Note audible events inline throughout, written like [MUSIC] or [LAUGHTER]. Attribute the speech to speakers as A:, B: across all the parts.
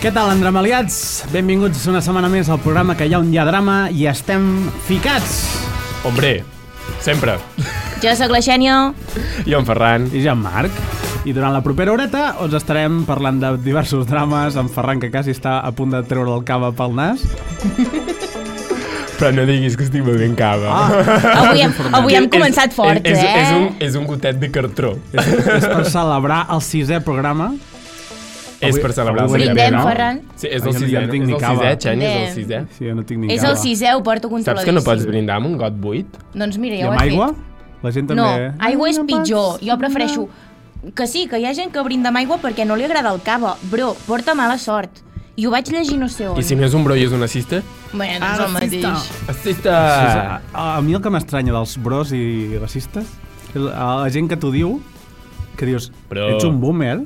A: Què tal, andramaliats? Benvinguts una setmana més al programa que hi ha un hi ha drama i estem ficats.
B: Hombre, sempre.
C: Jo sóc la Xènia.
B: I en Ferran.
A: I ja en Marc. I durant la propera horeta us estarem parlant de diversos drames, en Ferran que quasi està a punt de treure el cava pel nas.
B: Però no diguis que estic bevent
A: Ah.
B: cava.
C: Ah. Avui hem, avui hem començat forts,
B: és, és,
C: eh?
B: És un, és un gotet de cartró.
A: És per celebrar el sisè programa.
B: és per celebrar el
A: avui
B: sisè,
C: Brindem,
B: no?
C: Ferran.
B: Sí, és
A: Ai,
B: el
A: jo no
B: sisè,
A: tinc
B: no?
A: ni
B: És el
A: cava.
B: sisè, Xen, és el
C: Bé.
B: sisè.
A: Sí, jo no tinc ni
C: És
A: cava.
C: el sisè, ho
B: Saps
C: porto
B: que no
C: controladíssim.
B: pots brindar amb un got buit?
C: Doncs mira,
A: I
C: ja ho
A: amb
C: he
A: aigua?
C: fet.
A: La gent
C: No,
A: també... eh?
C: aigua és pitjor. Jo prefereixo... Que sí, que hi ha gent que brinda amb aigua perquè no li agrada el cava. Bro, porta mala sort. I ho vaig llegir no sé on.
B: I si no és un bro i és un assista?
C: Bé,
A: Ah,
C: doncs el
A: racista.
C: mateix.
B: Assista!
A: Sí, sí. Eh, A, a mi el que m'estranya dels bros i racistes és la, la gent que t'ho diu, que dius,
B: Bro.
A: ets un boomer,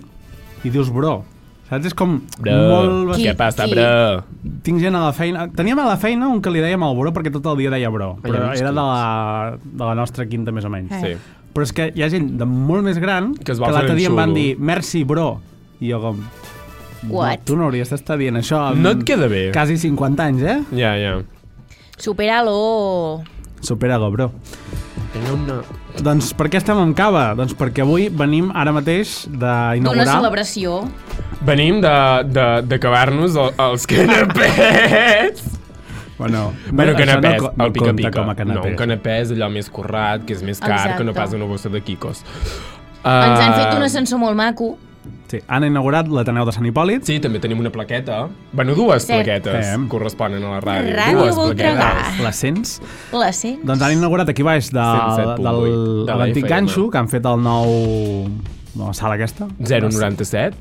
A: i dius bro. Saps? És com
B: Bro,
A: molt...
C: Qui?
B: què passa,
C: Qui?
B: bro?
A: Tinc gent a la feina... Teníem a la feina un que li dèiem el bro perquè tot el dia deia bro, però
B: veus
A: era
B: qui
A: de la, de la nostra quinta més o
C: Eh.
A: menys.
B: Sí.
A: Però és que hi ha gent de molt més gran
B: Que
A: que,
B: es va fer
A: l'altre
B: ben
A: dia em van
B: xulo.
A: dir merci bro, i jo com...
C: What?
A: No, tu no hauries d'estar dient això amb
B: No et queda bé.
A: quasi 50 anys, eh?
B: Ja, ja.
C: Supera-lo.
A: Supera-lo, bro.
B: Tenia una...
A: Doncs per què estem amb cava? Doncs perquè avui venim ara mateix
C: D'una
A: d'inaugurar...
C: celebració.
B: Venim de- de- d'acabar-nos el- els canapés!
A: Bueno,
B: Bueno,
A: això
B: canapès,
A: co-
B: el
A: compta
B: pica-pica.
A: Com a
B: no,
A: canapés.
B: un canapè és allò més currat, que és més car,
C: Exacte.
B: que no pas una bossa de quicos. Uh,
C: Ens han fet un ascensor molt maco.
A: Sí, han inaugurat l'Ateneu de Sant Hipòlit.
B: Sí, també tenim una plaqueta. Bueno, dues
C: Sí.
B: plaquetes
A: Fem.
B: corresponen a la ràdio.
C: Ràdio
B: dues
C: Voltregà.
B: plaquetes.
A: La Sents.
C: La sents?
A: Doncs han inaugurat aquí baix de,
B: 107.8
A: del-
B: de
A: de
B: la
A: l'antic
B: FM.
A: ganxo, que han fet el nou... La sala aquesta.
B: 0,97.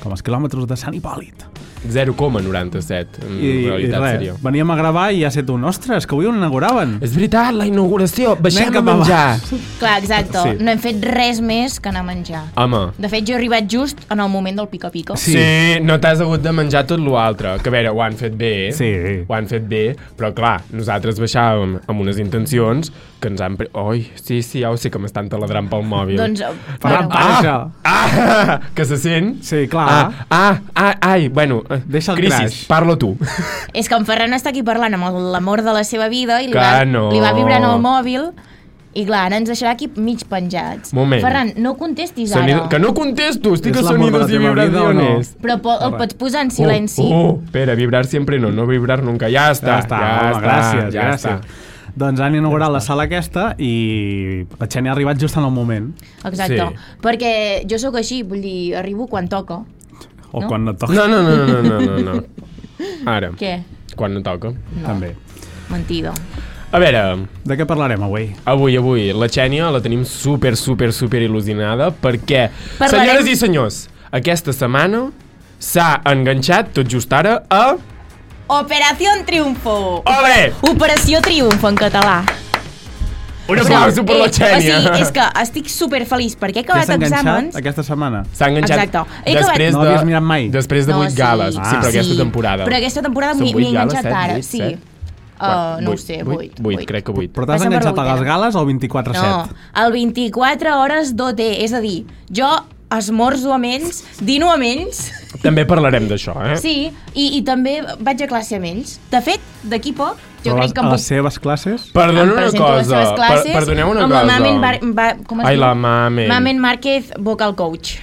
A: Com els quilòmetres de Sant Hipòlit.
B: 0,97, Mm, en
A: I,
B: I,
A: i
B: realitat
A: res,
B: seria.
A: veníem a gravar i ha set un... Ostres, que avui ho inauguraven.
B: És veritat, la inauguració. Baixem
A: Anem
B: a
A: cap
B: menjar.
A: avall.
C: Clar, exacte.
A: Sí.
C: No hem fet res més que anar a menjar.
B: Home,
C: De fet, jo he arribat just en el moment del pica-pica.
A: Sí.
B: Sí, sí no t'has hagut de menjar tot l'altre. Que a veure, ho han fet bé,
A: Sí.
B: ho han fet bé, però clar, nosaltres baixàvem amb unes intencions que ens han... pre- Oi, sí, sí, ja ho sé que m'estan taladrant pel mòbil.
C: Doncs,
A: Ferran,
C: bueno,
A: para això.
B: Ah, ah, [LAUGHS] que se sent?
A: Sí, clar.
B: Ah, ah, ah ai, bueno. eh,
A: Deixa el
B: crisis,
A: crash.
B: parlo tu.
C: és que en Ferran està aquí parlant amb el- l'amor de la seva vida i li
B: Clar,
C: va,
B: no.
C: li va vibrant el mòbil i clar, ara ens deixarà aquí mig penjats.
B: Moment.
C: Ferran, no contestis
B: Soni...
C: ara.
B: Que no contesto, estic
A: És
B: a
A: l'amor de la
B: sonidos i
A: teva vida o no?
B: vibraciones.
C: Però po el pots posar en silenci.
B: Oh, oh, espera, vibrar sempre no, no vibrar nunca. Ja està,
A: Ja està, home,
B: està,
A: gràcies,
B: ja
A: gràcies.
B: Està.
A: Doncs han inaugurat la sala aquesta i la Xènia ha arribat just en el moment.
C: Exacte.
B: uh, Sí.
C: Perquè jo sóc així, vull dir, arribo quan toca.
A: O
C: No?
A: quan no toca,
B: No, no, no, no, no, no, no. Ara,
C: Què?
B: quan no toca.
C: No,
A: també.
C: mentida.
B: A veure,
A: De què parlarem avui?
B: avui, avui, la Xènia la tenim super, super, super il·lusionada perquè,
C: Parlarem-
B: senyores i senyors, aquesta setmana s'ha enganxat tot just ara a...
C: Operación Triunfo.
B: Ole!
C: Operació Triunfo en català.
B: Un
C: Però, eh,
B: aplauso per la Xènia!
C: O sigui, és que estic superfeliç perquè he
A: Què
C: acabat
A: s'ha
C: exàmens.
A: enganxat aquesta setmana?
B: S'ha enganxat
C: Exacte. He acabat-
B: després
A: No
B: de...
A: l'havies mirat mai.
B: Després de
C: No,
B: 8
C: sí.
B: gales.
A: Ah.
B: Sí, però aquesta temporada.
C: Però aquesta temporada
B: Són
C: m'hi
B: vuit
C: m'hi he
B: gales,
C: enganxat
B: set,
C: ara,
B: vuit,
C: sí.
B: set?
C: Uh, no ho
B: Vuit,
C: sé,
B: vuit,
C: 8.
B: vuit, crec que vuit.
A: Però t'has
C: Passem per la
A: enganxat a les
C: vuitena.
A: gales al 24-7.
C: No, el 24 hores d'OT, és a dir, jo esmorzo amb ells, dino amb ells,
B: [LAUGHS] També parlarem d'això, eh?
C: sí, i, i també vaig a classe amb ells. De fet, d'aquí poc, jo
A: Però
C: crec que
A: a
C: em
A: les
C: puc...
A: seves classes...
B: Perdona
C: em
B: una
C: presento a les
B: cosa.
C: seves
B: Per,
C: classes
B: perdoneu una
C: amb
B: cosa.
C: la Mamen, Bar, Bar- com es
B: Ai,
C: diu?
B: la Mamen.
C: Mamen Márquez Vocal Coach.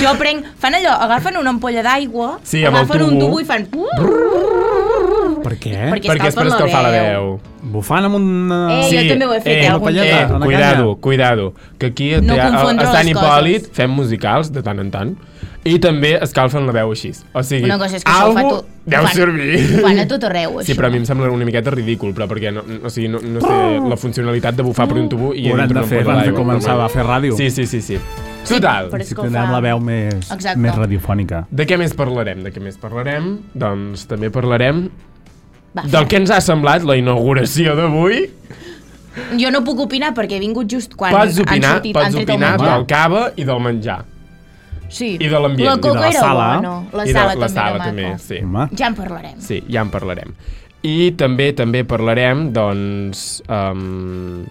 C: Jo prenc... Fan allò, agafen una ampolla d'aigua,
B: Sí, amb el
C: agafen un
B: tubo.
C: tubo i fan... uh,
A: Per què?
C: Eh.
B: Perquè és
C: Perquè-
B: per
C: escalfen la
B: escalfar la veu.
C: veu.
A: Bufant amb un...
C: Eh, jo també ho he fet, eh,
B: eh,
C: algun
B: eh,
A: dia.
B: cuidado, cuidado, que aquí a
C: No
B: Tea- a,
C: confondre
B: a Sant
C: les
B: Hipòlit
C: coses.
B: fem musicals de tant en tant i també escalfen la veu així. O sigui,
C: Una cosa és que això ho fa
B: algo
C: tot- ho
B: deu
C: fan-
B: servir.
C: Ho fan a tot arreu, això.
B: Sí, però a mi em sembla una miqueta ridícul, però perquè no, no- o sigui, no, no sé la funcionalitat de bufar per un tubo i
A: Ho hauran
B: dintre
A: de
B: una
A: fer
B: ampolla
A: abans de
B: d'aigua,
A: començar
B: normal.
A: a fer ràdio.
B: Sí, sí, sí, sí. Total.
C: però és
A: Si
C: que ho
A: tindrem
C: fa.
A: la veu més,
C: Exacte.
A: més radiofònica.
B: De què més parlarem? De què més parlarem? Doncs també parlarem
C: Va,
B: del que ens ha semblat la inauguració d'avui.
C: Jo no puc opinar perquè he vingut just quan
B: Pots opinar,
C: han sortit, han
B: pots
C: tret el
B: opinar
C: menjar.
B: del cava i del menjar.
C: sí.
B: i de l'ambient,
C: La
B: i de
C: coca
A: la
C: era
A: sala.
C: bona, la
B: I de-
C: sala
B: la
C: també
B: sala
C: era
B: també,
C: maca.
B: sí.
A: Home,
C: Ja en parlarem.
B: Sí, ja en parlarem. I també també parlarem, doncs... Um...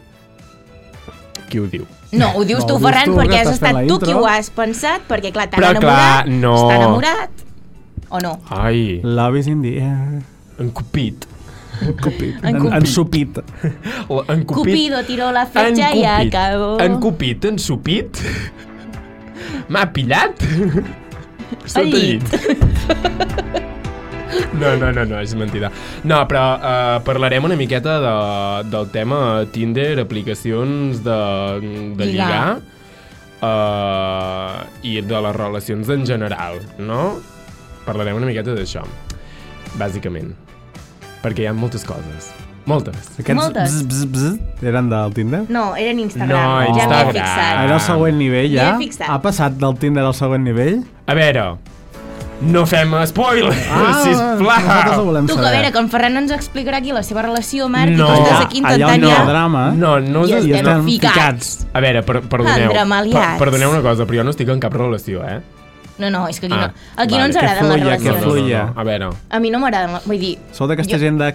B: Qui ho diu?
C: No, ho dius
A: No, ho
C: tu,
A: dius
C: Ferran,
A: tu, que
C: perquè has
A: estàs fent
C: estat
A: la
C: tu qui
A: intro.
C: ho has pensat, perquè clar, t'han
B: Però,
C: enamorat,
B: clar, no.
C: està enamorat, o no?
B: Ai,
A: Love is in the air.
B: en Cupit.
C: [LAUGHS]
A: Cupit.
C: En
A: En,
C: Cupit.
A: eh, en Supit.
B: La- En Cupit.
C: Cupido tiró la
B: En
C: flecha y
B: Cupit.
C: acabó.
B: En Cupit, en Supit. M'ha pillat. Sota
C: Al llit.
B: No, no, no, no, és mentida. No, però uh, parlarem una miqueta de, del tema Tinder, aplicacions de, de lligar,
C: Lligar.
B: uh, i de les relacions en general, no? Parlarem una miqueta d'això, bàsicament. Perquè hi ha moltes coses. Moltes.
A: Aquests
C: Moltes.
A: bzz, bzz, bzz, eren del Tinder?
C: No, era en Instagram.
B: No,
C: ja
B: Instagram. Ah.
C: m'he fixat.
A: Era el següent nivell,
C: M'hi he
A: ja?
C: fixat.
A: Ha passat del Tinder al següent nivell?
B: A veure, no fem spoilers,
A: Ah, Nosaltres ho
B: sisplau!
A: volem
C: Tu, que a
A: saber.
C: veure, que en Ferran ens explicarà aquí la seva relació, Marc,
B: No,
C: i tu estàs
B: allà-
C: aquí intentant
A: allà on
C: ja...
A: no, drama, eh?
B: No, no us
C: I
A: hi
C: estem
A: estem
C: ficats.
B: A veure, per, perdoneu.
C: Endramaliats.
B: perdoneu una cosa, però jo no estic en cap relació, eh?
C: No, no, és que aquí,
B: Ah,
C: no, aquí
B: vale.
C: no ens
B: Que
C: agraden les
A: fluya, que
C: relacions.
A: fluya.
B: A veure,
C: A mi no m'agraden, les- vull dir...
A: Sou d'aquesta
C: Jo-
A: gent de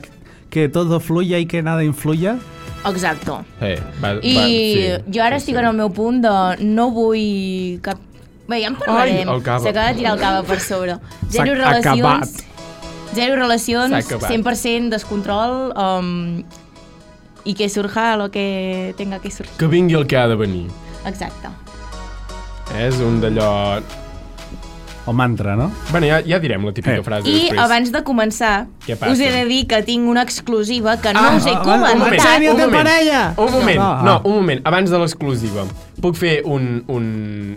A: que todo fluya i que nada influya?
C: Exacte.
B: eh, va,
C: I
B: va, sí,
C: jo ara
B: sí,
C: estic
B: sí.
C: en el meu punt de no vull cap... Bé, ja en parlarem.
B: Ai, el cava.
C: S'acaba de tirar el cava per sobre.
A: S'ha
C: Zero relacions.
A: acabat.
C: Zero
B: S'ha
C: relacions,
B: acabat.
C: 100% descontrol. Um, I que surja lo que tenga que surgir.
B: Que vingui el que ha de venir.
C: Exacte.
B: És un d'allò...
A: El mantra, no?
B: Bueno, ja, ja direm la típica
A: Eh.
B: frase
C: I
B: després.
C: abans de començar,
B: Què passa?
C: us he de dir que tinc una exclusiva que no
B: Ah,
C: us he
A: ah, bueno, un moment.
C: comentat.
A: Xavi, té parella!
B: Un moment,
A: No, ah.
B: no, un moment, abans de l'exclusiva. Puc fer un, un,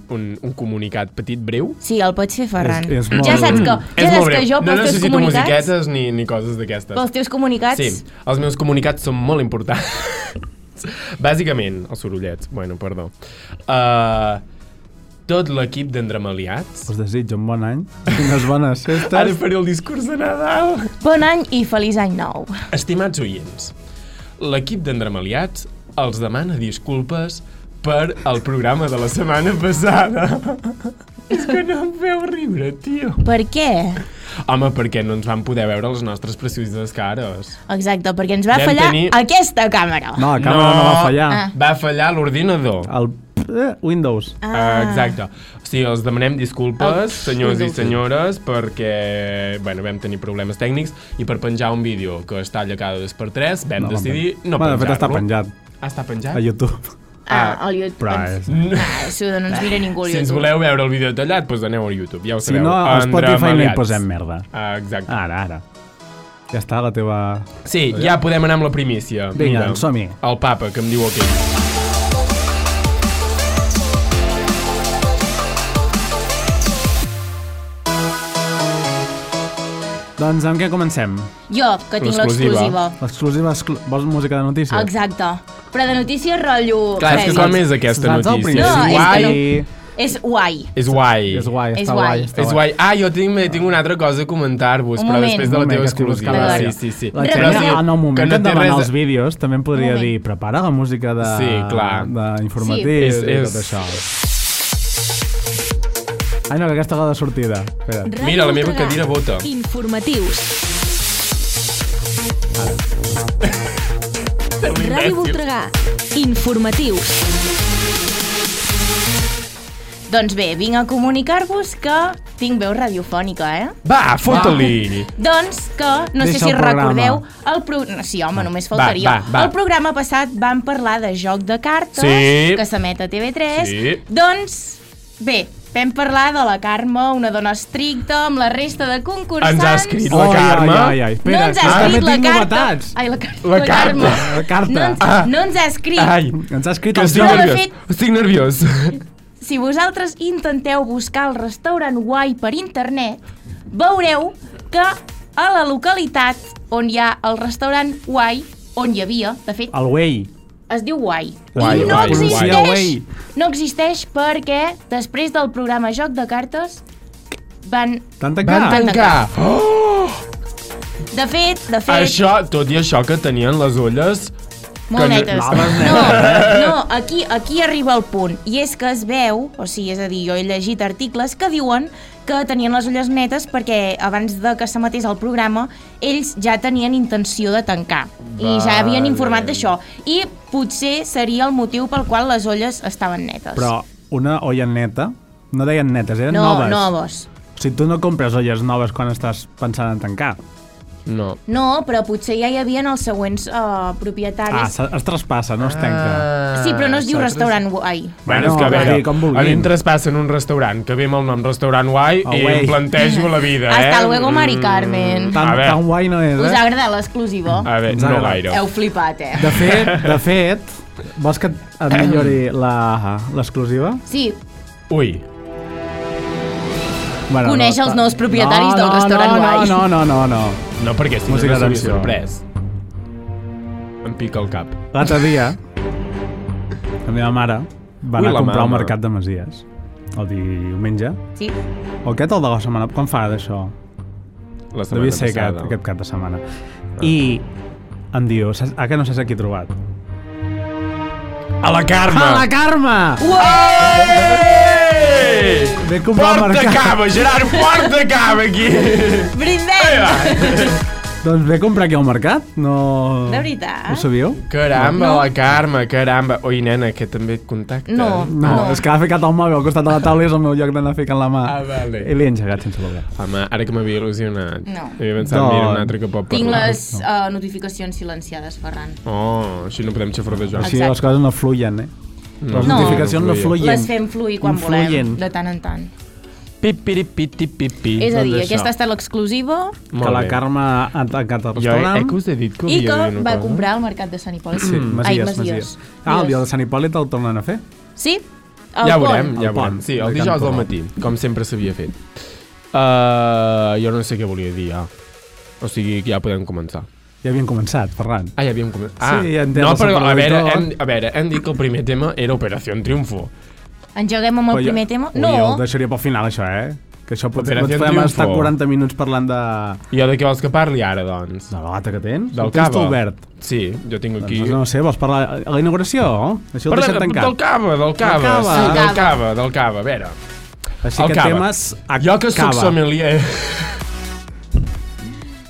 B: un, un comunicat petit breu?
C: Sí, el pots fer, Ferran.
A: És- és molt
C: ja saps
A: breu.
C: que,
B: Mm.
C: ja saps que jo
B: No
C: pels teus
B: necessito
C: comunicats...
B: musiquetes ni, ni coses d'aquestes.
C: Pels teus comunicats...
B: Sí, els meus comunicats són molt importants. [LAUGHS] Bàsicament, els sorollets. Bueno, perdó. Uh, tot l'equip d'endramaliats...
A: Us desitjo un bon
B: [LAUGHS]
A: any. Unes bones
B: Ara
A: festes.
B: faré el discurs de Nadal.
C: Bon any i feliç any nou.
B: Estimats oients, l'equip d'endramaliats els demana disculpes per el programa de la setmana passada. [LAUGHS] És que no em feu riure, tio.
C: Per què?
B: Home, perquè no ens van poder veure les nostres precioses cares.
C: Exacte, perquè ens va
B: Vam
C: fallar
B: tenir-
C: aquesta càmera.
A: No, la càmera no, va fallar.
C: Ah.
B: Va fallar l'ordinador.
A: El eh, Windows.
B: Ah. Exacte. O sigui, els demanem
C: Ah.
B: disculpes, senyors i
C: Windows.
B: senyores, perquè bueno, vam tenir problemes tècnics i per penjar un vídeo que es talla cada dos per tres vam
A: No,
B: no,
A: vam
B: decidir
A: pen-
B: no
A: Bueno, de fet, està
B: penjar-lo.
A: penjat
B: Ah, Mm. està penjat?
A: a YouTube.
C: Ah, el YouTube.
A: Però
C: Doncs...
A: és...
B: No.
C: Ah, això no ens mira ningú, el
B: Si ens
C: YouTube.
B: voleu veure el vídeo tallat, doncs aneu a YouTube, ja ho
A: Si
B: sabeu.
A: no, a Spotify no hi
B: Andramaliats.
A: posem merda.
B: Ah, exacte. Ah.
A: Ara, ara. Ja està la teva...
B: Sí, ja podem anar amb la primícia.
A: Vinga, doncs som-hi.
B: El papa, que em diu ok.
A: Doncs amb què comencem?
C: Jo, que tinc l'exclusiva.
B: L'exclusiva.
A: L'exclusiva... Exclu... Vols música de notícies?
C: Exacte. Però de notícies, rotllo...
B: Clar, és que
C: premis.
B: com és aquesta
A: Saps el
B: notícia?
A: principi?
C: No,
B: és
C: és que
B: guai?
C: no. És guai.
B: És guai.
A: És guai,
C: És
A: està
C: guai.
A: guai. està
B: És guai. Ah, jo tinc, tinc una altra cosa a comentar-vos,
C: Un
B: però
C: moment.
B: després de la
A: Un moment,
B: teva
A: que estic
B: exclusiva.
A: buscant
B: Sí,
A: la-
B: sí, sí.
A: La
C: Però
A: Xenia,
C: sí,
A: en el moment que,
B: té
A: et demana
B: res
A: els vídeos, també em podria
C: Un moment.
A: dir prepara la música de,
B: Sí, clar.
A: d'informatius
B: Sí.
A: i
B: És-
A: tot
B: és-
A: això. Ai, no, que aquesta va de sortida. Espera.
B: Mira, la meva cadira vota.
D: Informatius.
B: un
D: Ràdio
B: imbècil.
D: Voltregà. Informatius.
C: Doncs bé, vinc a comunicar-vos que tinc veu radiofònica, eh?
B: Va, fot-li!
C: Doncs que, no sé
A: Deixa
C: si
A: el programa.
C: recordeu, el pro... no, sí, home, només faltaria.
B: va, va.
C: El programa passat vam parlar de joc de cartes,
B: Sí.
C: que s'emet a TV3.
B: Sí.
C: Doncs, bé, vam parlar de la Carme, una dona estricta, amb la resta de concursants.
B: Ens ha escrit
A: Oi,
B: la Carme.
A: Ai, ai, ai.
C: No
A: Espera,
C: ens
A: que
C: ha
A: també
C: escrit la
A: tinc
C: carta.
A: novetats.
C: Ai, la, car
B: La carta.
C: Carme.
A: La carta.
C: No ens,
B: Ah.
C: no ens ha escrit.
B: Ai,
A: Ens ha escrit
B: que
A: el
B: estic
C: Però, de
B: nerviós.
C: fet-
B: Estic nerviós.
C: Si vosaltres intenteu buscar el restaurant guai per internet, veureu que a la localitat on hi ha el restaurant guai, on hi havia, de fet,
A: El güey.
C: es diu guai.
B: Guai,
C: I no
B: guai,
C: existeix,
A: guai. Guai.
C: no existeix perquè després del programa Joc de Cartes van...
A: T'han
B: Van
A: tancat?
B: tancar. Oh!
C: De fet, de fet...
B: Això, tot i això que tenien les olles...
C: Molt
B: que no-
C: netes.
A: no, les
C: No,
B: eh?
C: no, aquí, aquí arriba el punt. I és que es veu, o sigui, és a dir, jo he llegit articles que diuen que tenien les ulles netes perquè abans de que s'emetés el programa ells ja tenien intenció de tancar i ja havien
B: Vale.
C: informat d'això i potser seria el motiu pel qual les olles estaven netes
A: Però una olla neta, no deien netes, eren
C: no,
A: noves.
C: noves
A: O sigui, tu no compres olles noves quan estàs pensant en tancar.
B: No.
C: No, però potser ja hi havia els següents uh,
A: Ah,
C: propietaris.
A: se- es traspassa, no es
B: Ah.
A: tanca.
C: sí, però no es diu
B: s'ha
C: restaurant guai.
B: Bueno, és que a
A: Bueno,
B: veure,
A: sí, com vulguin.
B: a mi em traspassen un restaurant que ve amb el nom Restaurant Guai
A: Oh,
B: i
A: güey.
B: em plantejo la vida, eh?
C: Hasta luego, Mari
B: Mm,
C: Carmen.
A: Tan,
B: a veure,
A: tan guai no és,
C: Us ha
A: eh?
C: agradat l'exclusiva?
B: Mm, a veure,
A: Ens ha
B: no
A: agradat.
B: gaire.
C: Heu flipat, eh?
A: De fet, de fet, vols que et- et millori la- l'exclusiva?
C: Sí,
B: Ui,
A: Bueno,
C: Coneix els
A: ta-
C: nous propietaris
A: no,
C: del
A: no,
C: restaurant
A: no,
C: guai.
A: No, no, no, no.
B: no perquè si
A: Música
B: no, no s'hauria
A: d'atenció.
B: sorprès. Em pica el cap.
A: L'altre dia, la meva mare va
B: Ui,
A: anar a
B: la
A: comprar al
B: mama.
A: mercat de Masies el diumenge.
C: sí.
A: O aquest o el de la setmana? Quan fa d'això?
B: La setmana
A: Devia ser aquest,
B: passada.
A: aquest cap de setmana.
B: Ah.
A: I em diu, "Saps- ah, que no saps a qui he trobat?
B: A la Carme!
A: A la Carme!
B: Ei!
A: Ve a comprar al
B: Porta
A: mercat.
B: cava, Gerard, porta cava
A: [LAUGHS]
B: aquí! Ei,
C: Brindem!
B: va.
A: Doncs ve a comprar aquí al mercat? No...
C: De veritat?
A: Ho sabíeu?
B: Caramba, la Carme, caramba. Oi, nena, que també et contacta.
C: No.
A: No, no, és que ha ficat el mòbil al costat de la taula i és el meu lloc d'anar ficant la mà.
B: Ah, vale.
A: I li he engegat sense voler.
B: Home, ara que m'havia il·lusionat.
C: No.
B: Havia pensat, no. mira,
A: Doncs-
B: un altre que pot
C: Tinc
B: parlar.
C: les uh, notificacions silenciades, Ferran.
B: Oh, així no podem xafar de Joan.
A: Així
C: Exacte.
A: les coses no fluyen, eh?
B: No.
A: Les
C: No.
A: notificacions no
B: No
A: fluyen.
C: Les fem fluir quan
A: Influyen.
C: volem, de tant en tant.
B: Pipiripitipipi.
C: És a dir,
B: Doncs això.
C: aquesta ha estat l'exclusiva
A: Que la Carme ha tancat el
B: Jo he,
A: restaurant.
B: que us he dit que
C: i
B: havia
C: que
B: de dir una
C: va
B: cosa.
C: comprar al mercat de Sant Hipòlit. Mm.
A: Sí,
C: Ai,
A: Masies,
C: Masies.
A: Masies. Ah, el dia de Sant Hipòlit el tornen a fer.
C: Sí? El
B: ja ho
C: pont.
B: veurem, ja
A: El
B: ho veurem.
A: pont.
B: Sí, el
A: De
B: dijous
A: Campo
B: al
A: Bom.
B: matí, com sempre s'havia fet. Uh, jo no sé què volia dir, ja. O sigui, que ja podem començar.
A: Ja havien començat, Ferran.
B: Ah, ja havíem començat. Ah,
A: Sí, ja en té
B: no,
A: el
B: però a veure,
A: supervisor.
B: hem, a veure, hem dit que el primer tema era Operació Triunfo.
C: Engeguem amb el
A: Però jo-
C: primer tema?
A: Ui,
C: No,
A: el deixaria pel final, això, eh? Que això potser no
B: Operación
A: podem
B: Triunfo.
A: estar 40 minuts parlant de...
B: I jo de què vols que parli ara, doncs?
A: De la lata que tens?
B: Del
A: El Cristo
B: cava.
A: obert.
B: Sí, jo tinc aquí...
A: Doncs no sé, vols parlar a la inauguració? Així el
B: Parla-
A: deixem
B: del
A: tancat.
B: cava, del cava,
A: Del cava.
B: sí, del
C: Del
B: cava, del cava, a veure.
A: Així
B: el
A: que
B: cava.
A: temes a
B: Jo que sóc
A: cava.
B: sommelier... [LAUGHS]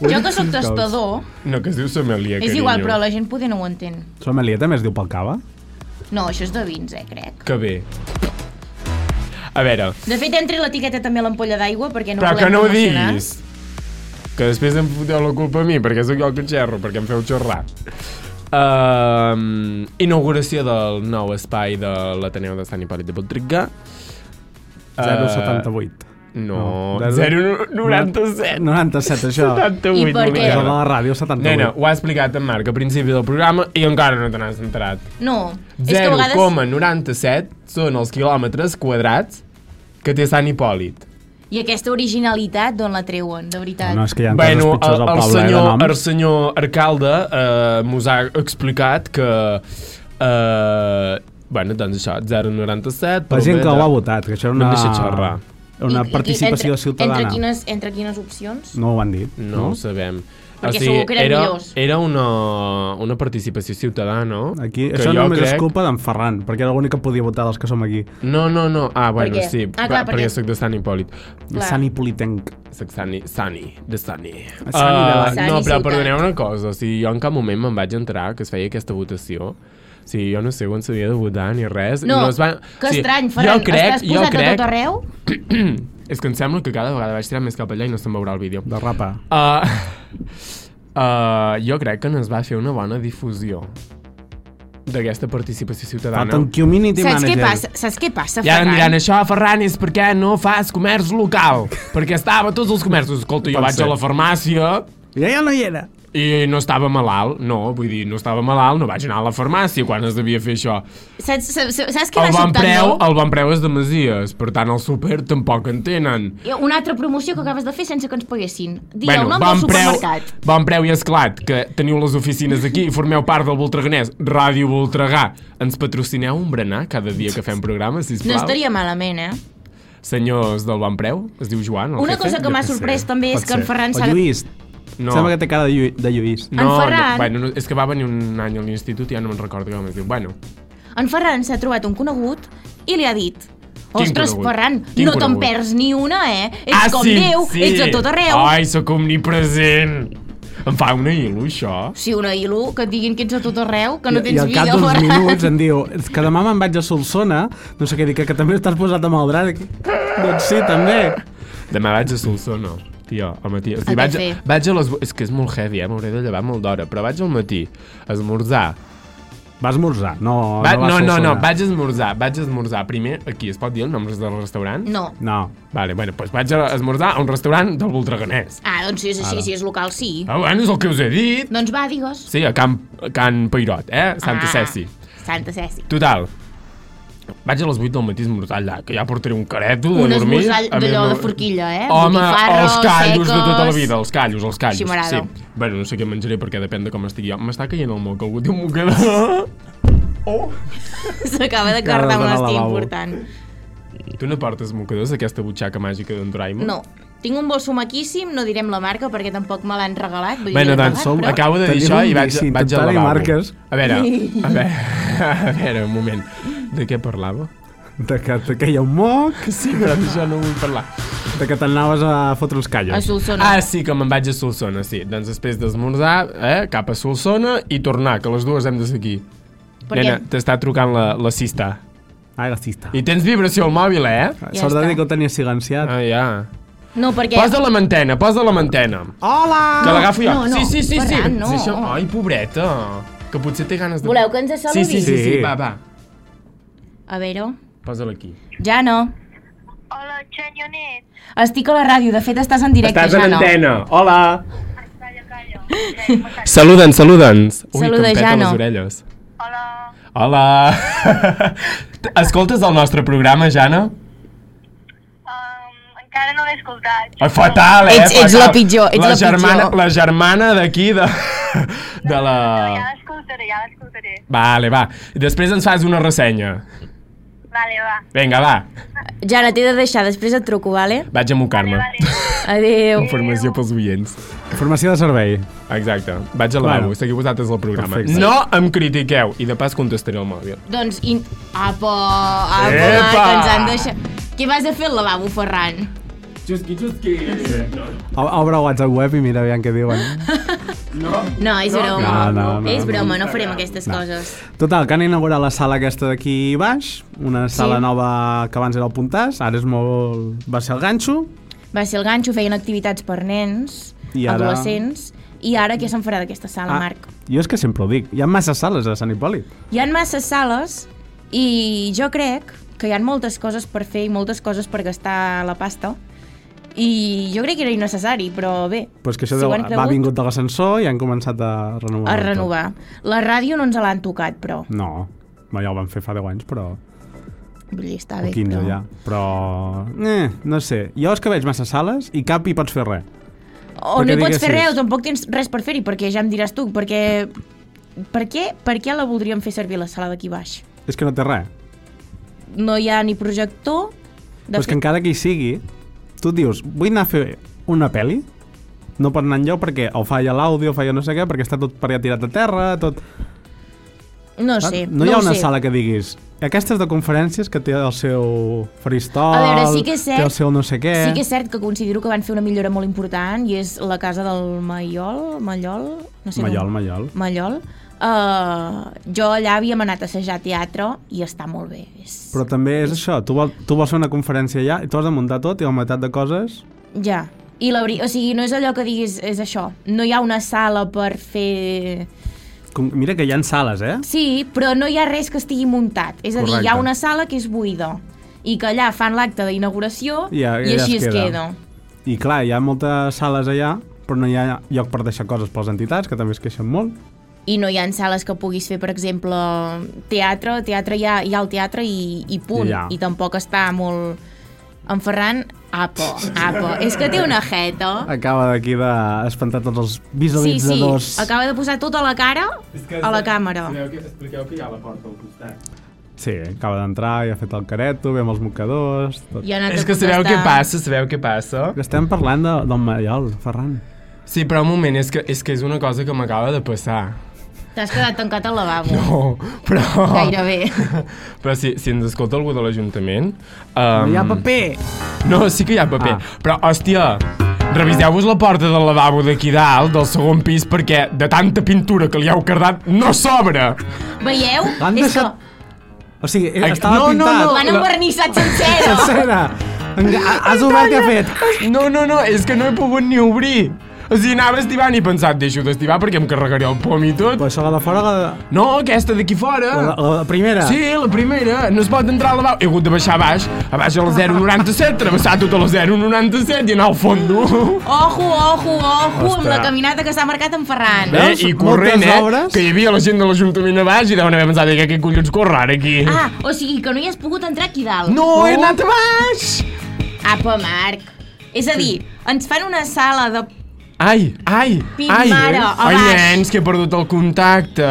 C: jo que sóc tastador,
B: No, que es diu sommelier,
C: és igual, però la gent poder no ho entén.
A: Sommelier també es diu pel cava?
B: Eh,
C: No, això és de vins, eh, crec.
B: Que bé. A veure,
C: De fet, entri l'etiqueta també a l'ampolla d'aigua perquè no
B: però
C: volem
B: que no ho
C: promocionar.
B: diguis. Que després em foteu la culpa a mi, perquè sóc jo el que xerro, perquè em feu xorrar. Um, inauguració del nou espai de l'Ateneu de Sant Hipòlit de Voltregà.
A: 078. No,
B: No, 097.
A: 97, això.
B: 78,
C: I
A: És
C: per què?
A: el de
B: Miquel.
A: la ràdio, 78.
B: Nena, ho ha explicat en Marc al principi del programa i encara no te n'has entrat.
C: No, és que a vegades...
B: 0,97 són els quilòmetres quadrats que té Sant Hipòlit.
C: I aquesta originalitat d'on la treuen, de veritat.
A: No, és que hi ha
B: Bueno,
A: coses pitjors al
B: el, el,
A: poble, eh, de
B: senyor,
A: noms.
B: el senyor alcalde eh, mos ha explicat que... Eh, bueno, doncs això, 0,97...
A: La gent que ho ha
B: va
A: votat, que això era
B: No em
A: una...
B: deixa xerrar.
A: Una
C: I- i- i
A: participació
C: entre,
A: ciutadana.
C: Entre quines, entre quines opcions?
A: No ho han dit,
B: No,
A: no?
B: ho sabem.
C: Perquè segur que eren
B: era,
C: millors.
B: era una, una participació ciutadana, no?
A: Aquí,
B: Que
A: això
B: jo
A: només
B: crec-
A: és culpa d'en Ferran, perquè era l'únic que podia votar dels que som aquí.
B: No, no, no. Ah, bueno,
C: què?
B: sí.
C: Ah, clar,
B: per- perquè
C: perquè-
B: sóc de Sant Hipòlit.
C: Clar.
A: Sant Hipolitenc.
B: Soc Sani, Sani, de Sani.
A: Sani de la-
B: Eh,
C: Sani
B: no, però
C: ciutat.
B: perdoneu una cosa, o sigui, jo en cap moment me'n vaig entrar que es feia aquesta votació. O sigui, jo no sé quan s'havia de votar ni res.
C: No,
B: es va...
C: que
B: o sigui,
C: estrany, Ferran,
B: jo crec,
C: estàs posat
B: jo crec,
C: a tot arreu?
B: És que em sembla que cada vegada vaig tirar més cap allà i no se'n veurà el vídeo.
A: De rapa.
B: [LAUGHS] Uh, uh, jo crec que no es va fer una bona difusió d'aquesta participació ciutadana.
A: Falten community
C: Saps què
A: manager.
C: passa? Saps què passa,
B: I ara em
C: Ferran?
B: diran, això, Ferran, és perquè no fas comerç local. perquè estava a tots els comerços. Escolta, jo
A: Pot
B: vaig
A: ser.
B: a la farmàcia,
A: Ja, ja no hi era.
B: I no estava malalt, no, vull dir, no estava malalt, no vaig anar a la farmàcia quan es devia fer això.
C: Saps, saps, saps què
B: El
C: m'ha
B: bon,
C: sobtat
B: preu,
C: molt?
B: el bon preu és de Masies, per tant el súper tampoc en tenen.
C: Una altra promoció que acabes de fer sense que ens paguessin. Dir el nom
B: bon
C: del
B: preu,
C: supermercat.
B: bon preu i esclat, que teniu les oficines aquí i formeu part del Voltreganès, Ràdio Voltregà. Ens patrocineu un berenar cada dia que fem programa, sisplau?
C: No estaria malament, eh?
B: Senyors del Bon Preu, es diu Joan, el
C: Una
B: jefe?
C: cosa que
B: Jo
C: m'ha
B: què sé.
C: sorprès també és
A: Pot
C: que en
A: ser.
C: Ferran
A: O
C: s'ha...
A: Lluís.
B: No.
A: Sembla que té cara de, Llu de Lluís.
B: No, no,
C: Ferran-
B: bueno, no, és que va venir un any a l'institut i ja no me'n recordo com es diu. Bueno,
C: En Ferran s'ha trobat un conegut i li ha dit...
B: Quin
C: Ostres,
B: conegut?
C: Ferran,
B: Quin
C: no te'n
B: conegut?" Ah,
C: perds ni una, eh? Ets com Déu, ets a tot arreu.
B: Ai, sóc omnipresent. Em fa una il·lu, això.
C: Si una il·lu, que et diguin que ets a tot arreu, que no
A: I, I
C: tens
A: al cap
C: vida,
A: d'uns
C: Ferran.
A: minuts em diu és que demà me'n vaig a Solsona, no sé què dir, que, que també estàs posat amb el drac. doncs sí, també.
B: Demà vaig a Solsona, tio, al matí. O
C: A
B: sigui, vaig,
C: què fer?
B: vaig a les... vu- És que és molt heavy, eh? M'hauré de llevar molt d'hora, però vaig al matí a esmorzar.
A: Va esmorzar, no...
B: Va,
A: va
B: no, no, no,
A: Solsona.
B: vaig a esmorzar, vaig a esmorzar. Primer, aquí, es pot dir el nom del restaurant?
C: [LAUGHS] No.
A: No.
B: Vale, bueno, doncs vaig a esmorzar a un restaurant del Voltreganès.
C: Ah, doncs si és així, si és local, sí.
B: Ah, bueno, és el que us he dit.
C: Doncs va, digues.
B: Sí, a Can, a Can Peirot, eh? Santa ah. Ceci.
C: Santa Ceci. [LAUGHS]
B: Total, vaig a les 8 del matí a esmorzar allà, que ja portaré un careto de
C: Un
B: dormir.
C: esmorzar
B: a mi
C: d'allò
B: no-
C: de forquilla, eh?
B: Home,
C: Botifarra,
B: els callos de tota la
C: seques.
B: vida, els callos, els callos.
C: Així m'agrada.
B: Sí. Bueno, no sé què menjaré perquè depèn de com estigui jo. M'està caient el moc, algú té un mocador. Oh.
C: S'acaba de
A: Acaba
C: cardar un
A: d'anar al
C: estiu
A: lavabo.
C: important.
B: Tu no portes mocadors d'aquesta butxaca màgica d'en Doraemon?
C: No. Tinc un bolso maquíssim, no direm la marca perquè tampoc me l'han regalat. Vull dir,
B: Bueno,
C: l'he
B: doncs,
C: pagat, però...
B: acabo de dir
A: Teniu
B: això
A: un
B: i vaig,
A: vici,
B: vaig al
A: intentant-hi
B: lavabo.
A: marques.
B: A
C: [LAUGHS]
B: veure, a veure, [LAUGHS] a veure, un moment. De què parlava?
A: De que te queia un moc,
B: Sí, però d'això no vull parlar.
A: de que t'anaves a fotre els callos.
C: A Solsona.
B: Ah, sí, que me'n vaig a Solsona, sí. Doncs després d'esmorzar, eh, cap a Solsona i tornar, que les dues hem de ser aquí.
C: Per
B: Nena,
C: què?
B: t'està trucant la, la cista.
A: Ai, gastista.
B: I tens vibració al mòbil, eh?
A: Sort de
C: està.
A: dir Ah, que ho tenia silenciat.
B: Ah, ja.
C: No, perquè...
B: Posa la mantena, posa la mantena.
A: Hola!
B: Que l'agafo jo.
C: Ah, no, no,
B: sí, sí, sí, sí.
C: Ferran, no.
B: Sí, això... Ai, pobreta. Que potser té ganes de...
C: Voleu que ens saludi?
B: Sí, sí, sí, sí,
A: Sí.
B: va, va.
C: A veure...
B: Posa-la aquí.
C: Ja no.
E: Hola, Xanyonet.
C: Estic a la ràdio, de fet estàs en directe,
B: Estàs
C: ja
B: en
C: no.
B: antena. Hola.
E: Calla, calla. Ven, m'acallo.
B: Saluda'ns, saluda'ns. Ui,
C: Saluda,
B: que em peta
C: Jano.
B: les orelles.
E: Hola.
B: Hola. [LAUGHS] Escoltes el nostre programa, Jana?
E: Um, encara no l'he escoltat.
B: Ah, Fatal, eh?
C: Ets- ets
B: fatal.
C: la pitjor, ets la
B: germana,
C: pitjor.
B: La germana d'aquí, de, [LAUGHS] de la...
E: No, ja l'escoltaré, ja l'escoltaré.
B: Vale, va. I després ens fas una ressenya.
E: Vale, va.
B: Vinga, va.
C: Jana, t'he de deixar, després et truco, vale?
B: Vaig a mocar-me.
E: Vale.
C: Adéu.
B: Informació pels oients.
A: Formació de servei.
B: Exacte. Vaig a la bueno.
A: Bueno.
B: Seguiu vosaltres el programa.
A: Perfecte.
B: No em critiqueu. I de pas contestaré el mòbil.
C: Doncs, in... apa, apa,
B: Epa!
C: que ens han deixat... Què vas a fer al lavabo, Ferran?
B: Xusqui, xusqui. No,
A: O- Obre WhatsApp web i mira aviam què diuen.
B: no.
C: No, és broma.
A: no, no, no,
C: és
A: no.
C: broma, no farem aquestes coses.
A: Total, que han inaugurat la sala aquesta d'aquí baix, una sala
C: Sí. nova
A: nova que abans era el Puntàs, ara és molt... va ser el ganxo,
C: Va ser el ganxo, feien activitats per nens,
A: I ara-
C: adolescents, i ara què se'n farà d'aquesta sala, Marc?
A: Ah, Jo és que sempre ho dic, hi ha massa sales a Sant Hipòlit.
C: Hi ha masses sales i jo crec que hi ha moltes coses per fer i moltes coses per gastar la pasta, i jo crec que era innecessari, però bé,
A: Però és que això
C: si
A: deu,
C: ho han
A: va
C: cregut,
A: vingut de l'ascensor i han començat a renovar.
C: a
A: tot. Mm.
C: renovar. La ràdio no ens l'han tocat, però...
A: No, no, ja ho van fer fa 10 anys, però...
C: Vull dir, està
A: O
C: bé,
A: 15
C: però...
A: ja. Però... Eh, no sé, jo és que veig massa sales i cap hi pots fer res.
C: O
A: Perquè
C: no hi pots fer
A: diguessis-
C: res, o tampoc tens res per fer-hi, perquè ja em diràs tu, perquè... Per què, per què la voldríem fer servir la sala d'aquí baix?
A: És que no té res.
C: No hi ha ni projector... De
A: Però és que encara que hi sigui, tu dius, vull anar a fer una pel·li, no pot anar enlloc perquè o falla l'àudio, o falla no sé què, perquè està tot per allà tirat a terra, tot...
C: No sé,
A: no hi ha
C: ho
A: una
C: sé.
A: sala que diguis, aquestes de conferències que té el seu
C: A
A: faristol,
C: veure, sí que és cert,
A: té el seu no sé què...
C: Sí que és cert que considero que van fer una millora molt important i és la casa del Maiol, Mallol, no sé
A: Mallol,
C: com. Mm.
A: Mallol.
C: Mallol. Uh, jo allà havíem anat a assajar teatre i està molt bé. És...
A: Però també és això, tu, vol, tu vols fer una conferència allà i tu has de muntar tot i la meitat de coses...
C: Ja. I la, veri- o sigui, no és allò que diguis, és això. No hi ha una sala per fer...
A: Com, mira que hi ha sales, eh?
C: Sí, però no hi ha res que estigui muntat. És a dir, hi ha
A: Correcte.
C: una sala que és buida i que allà fan l'acte d'inauguració
A: I ja-
C: i
A: ja
C: així
A: es
C: es
A: queda.
C: queda.
A: I clar, hi ha moltes sales allà, però no hi ha lloc per deixar coses per les entitats, que també es queixen molt.
C: i no hi ha sales que puguis fer, per exemple, teatre, teatre hi ha, hi ha el teatre i, i punt,
A: Ja.
C: i tampoc està molt... En Ferran, apa, apa, és que té una jeta.
A: Acaba d'aquí d'espantar tots els
C: Sí, sí,
A: visualitzadors.
C: acaba de posar tota la cara a la càmera.
B: que, expliqueu que hi ha la porta al costat.
A: Sí, acaba d'entrar i ha fet el careto, ve amb els mocadors... Tot.
C: I ha anat
B: És
C: a
B: que sabeu què
C: contestar.
B: passa, sabeu què passa?
A: Estem parlant de, del Mallol, Ferran.
B: Sí, però un moment, és que és, que és una cosa que m'acaba de passar. [LAUGHS]
C: T'has quedat tancat al lavabo. No.
B: Oh, però...
C: Gairebé.
B: [LAUGHS] Però si, si ens escolta algú de l'Ajuntament... Um...
A: paper!
B: No, sí que hi ha paper.
A: Ah.
B: Ah. Però, hòstia, reviseu-vos la porta del lavabo d'aquí dalt, del segon pis, perquè de tanta pintura que li heu cardat no s'obre.
C: Veieu?
A: L'han
C: És
A: deixat...
C: que
A: O sigui, eh,
B: Ai,
A: estava
B: no, no,
A: pintat...
B: no.
C: l'han
B: La-
C: envernissat sencera.
A: Sencera! Enga- Has obert què ha fet?
B: No, no, no, és que no he pogut ni obrir. O sigui, anava estivant i he pensat, deixo d'estivar perquè em carregaré el pom i tot.
A: Però això la de fora, la, de-
B: No, aquesta d'aquí fora.
A: la, la, la primera.
B: Sí, la primera. No es pot entrar a la bau. He hagut de baixar a baix, a baix a la 097, travessar tot a la 097 i anar al fondo.
C: Ojo, ojo, ojo, amb la
B: Ostres.
C: caminata que s'ha marcat en Ferran.
B: Eh,
A: Veus?
B: I corrent,
A: Moltes
B: eh?
A: obres.
B: Que hi havia la gent de l'Ajuntament a baix i deuen haver pensat "Eh, que què collons corre ara aquí.
C: Ah, o sigui que no hi has pogut entrar aquí dalt.
B: No,
A: Oh.
B: he anat a baix!
C: Apa, Marc. És a dir, ens fan una sala de...
B: Ai, ai,
C: Pit
B: ai.
C: mare, a
B: ai,
C: baix.
B: nens, que he perdut el contacte.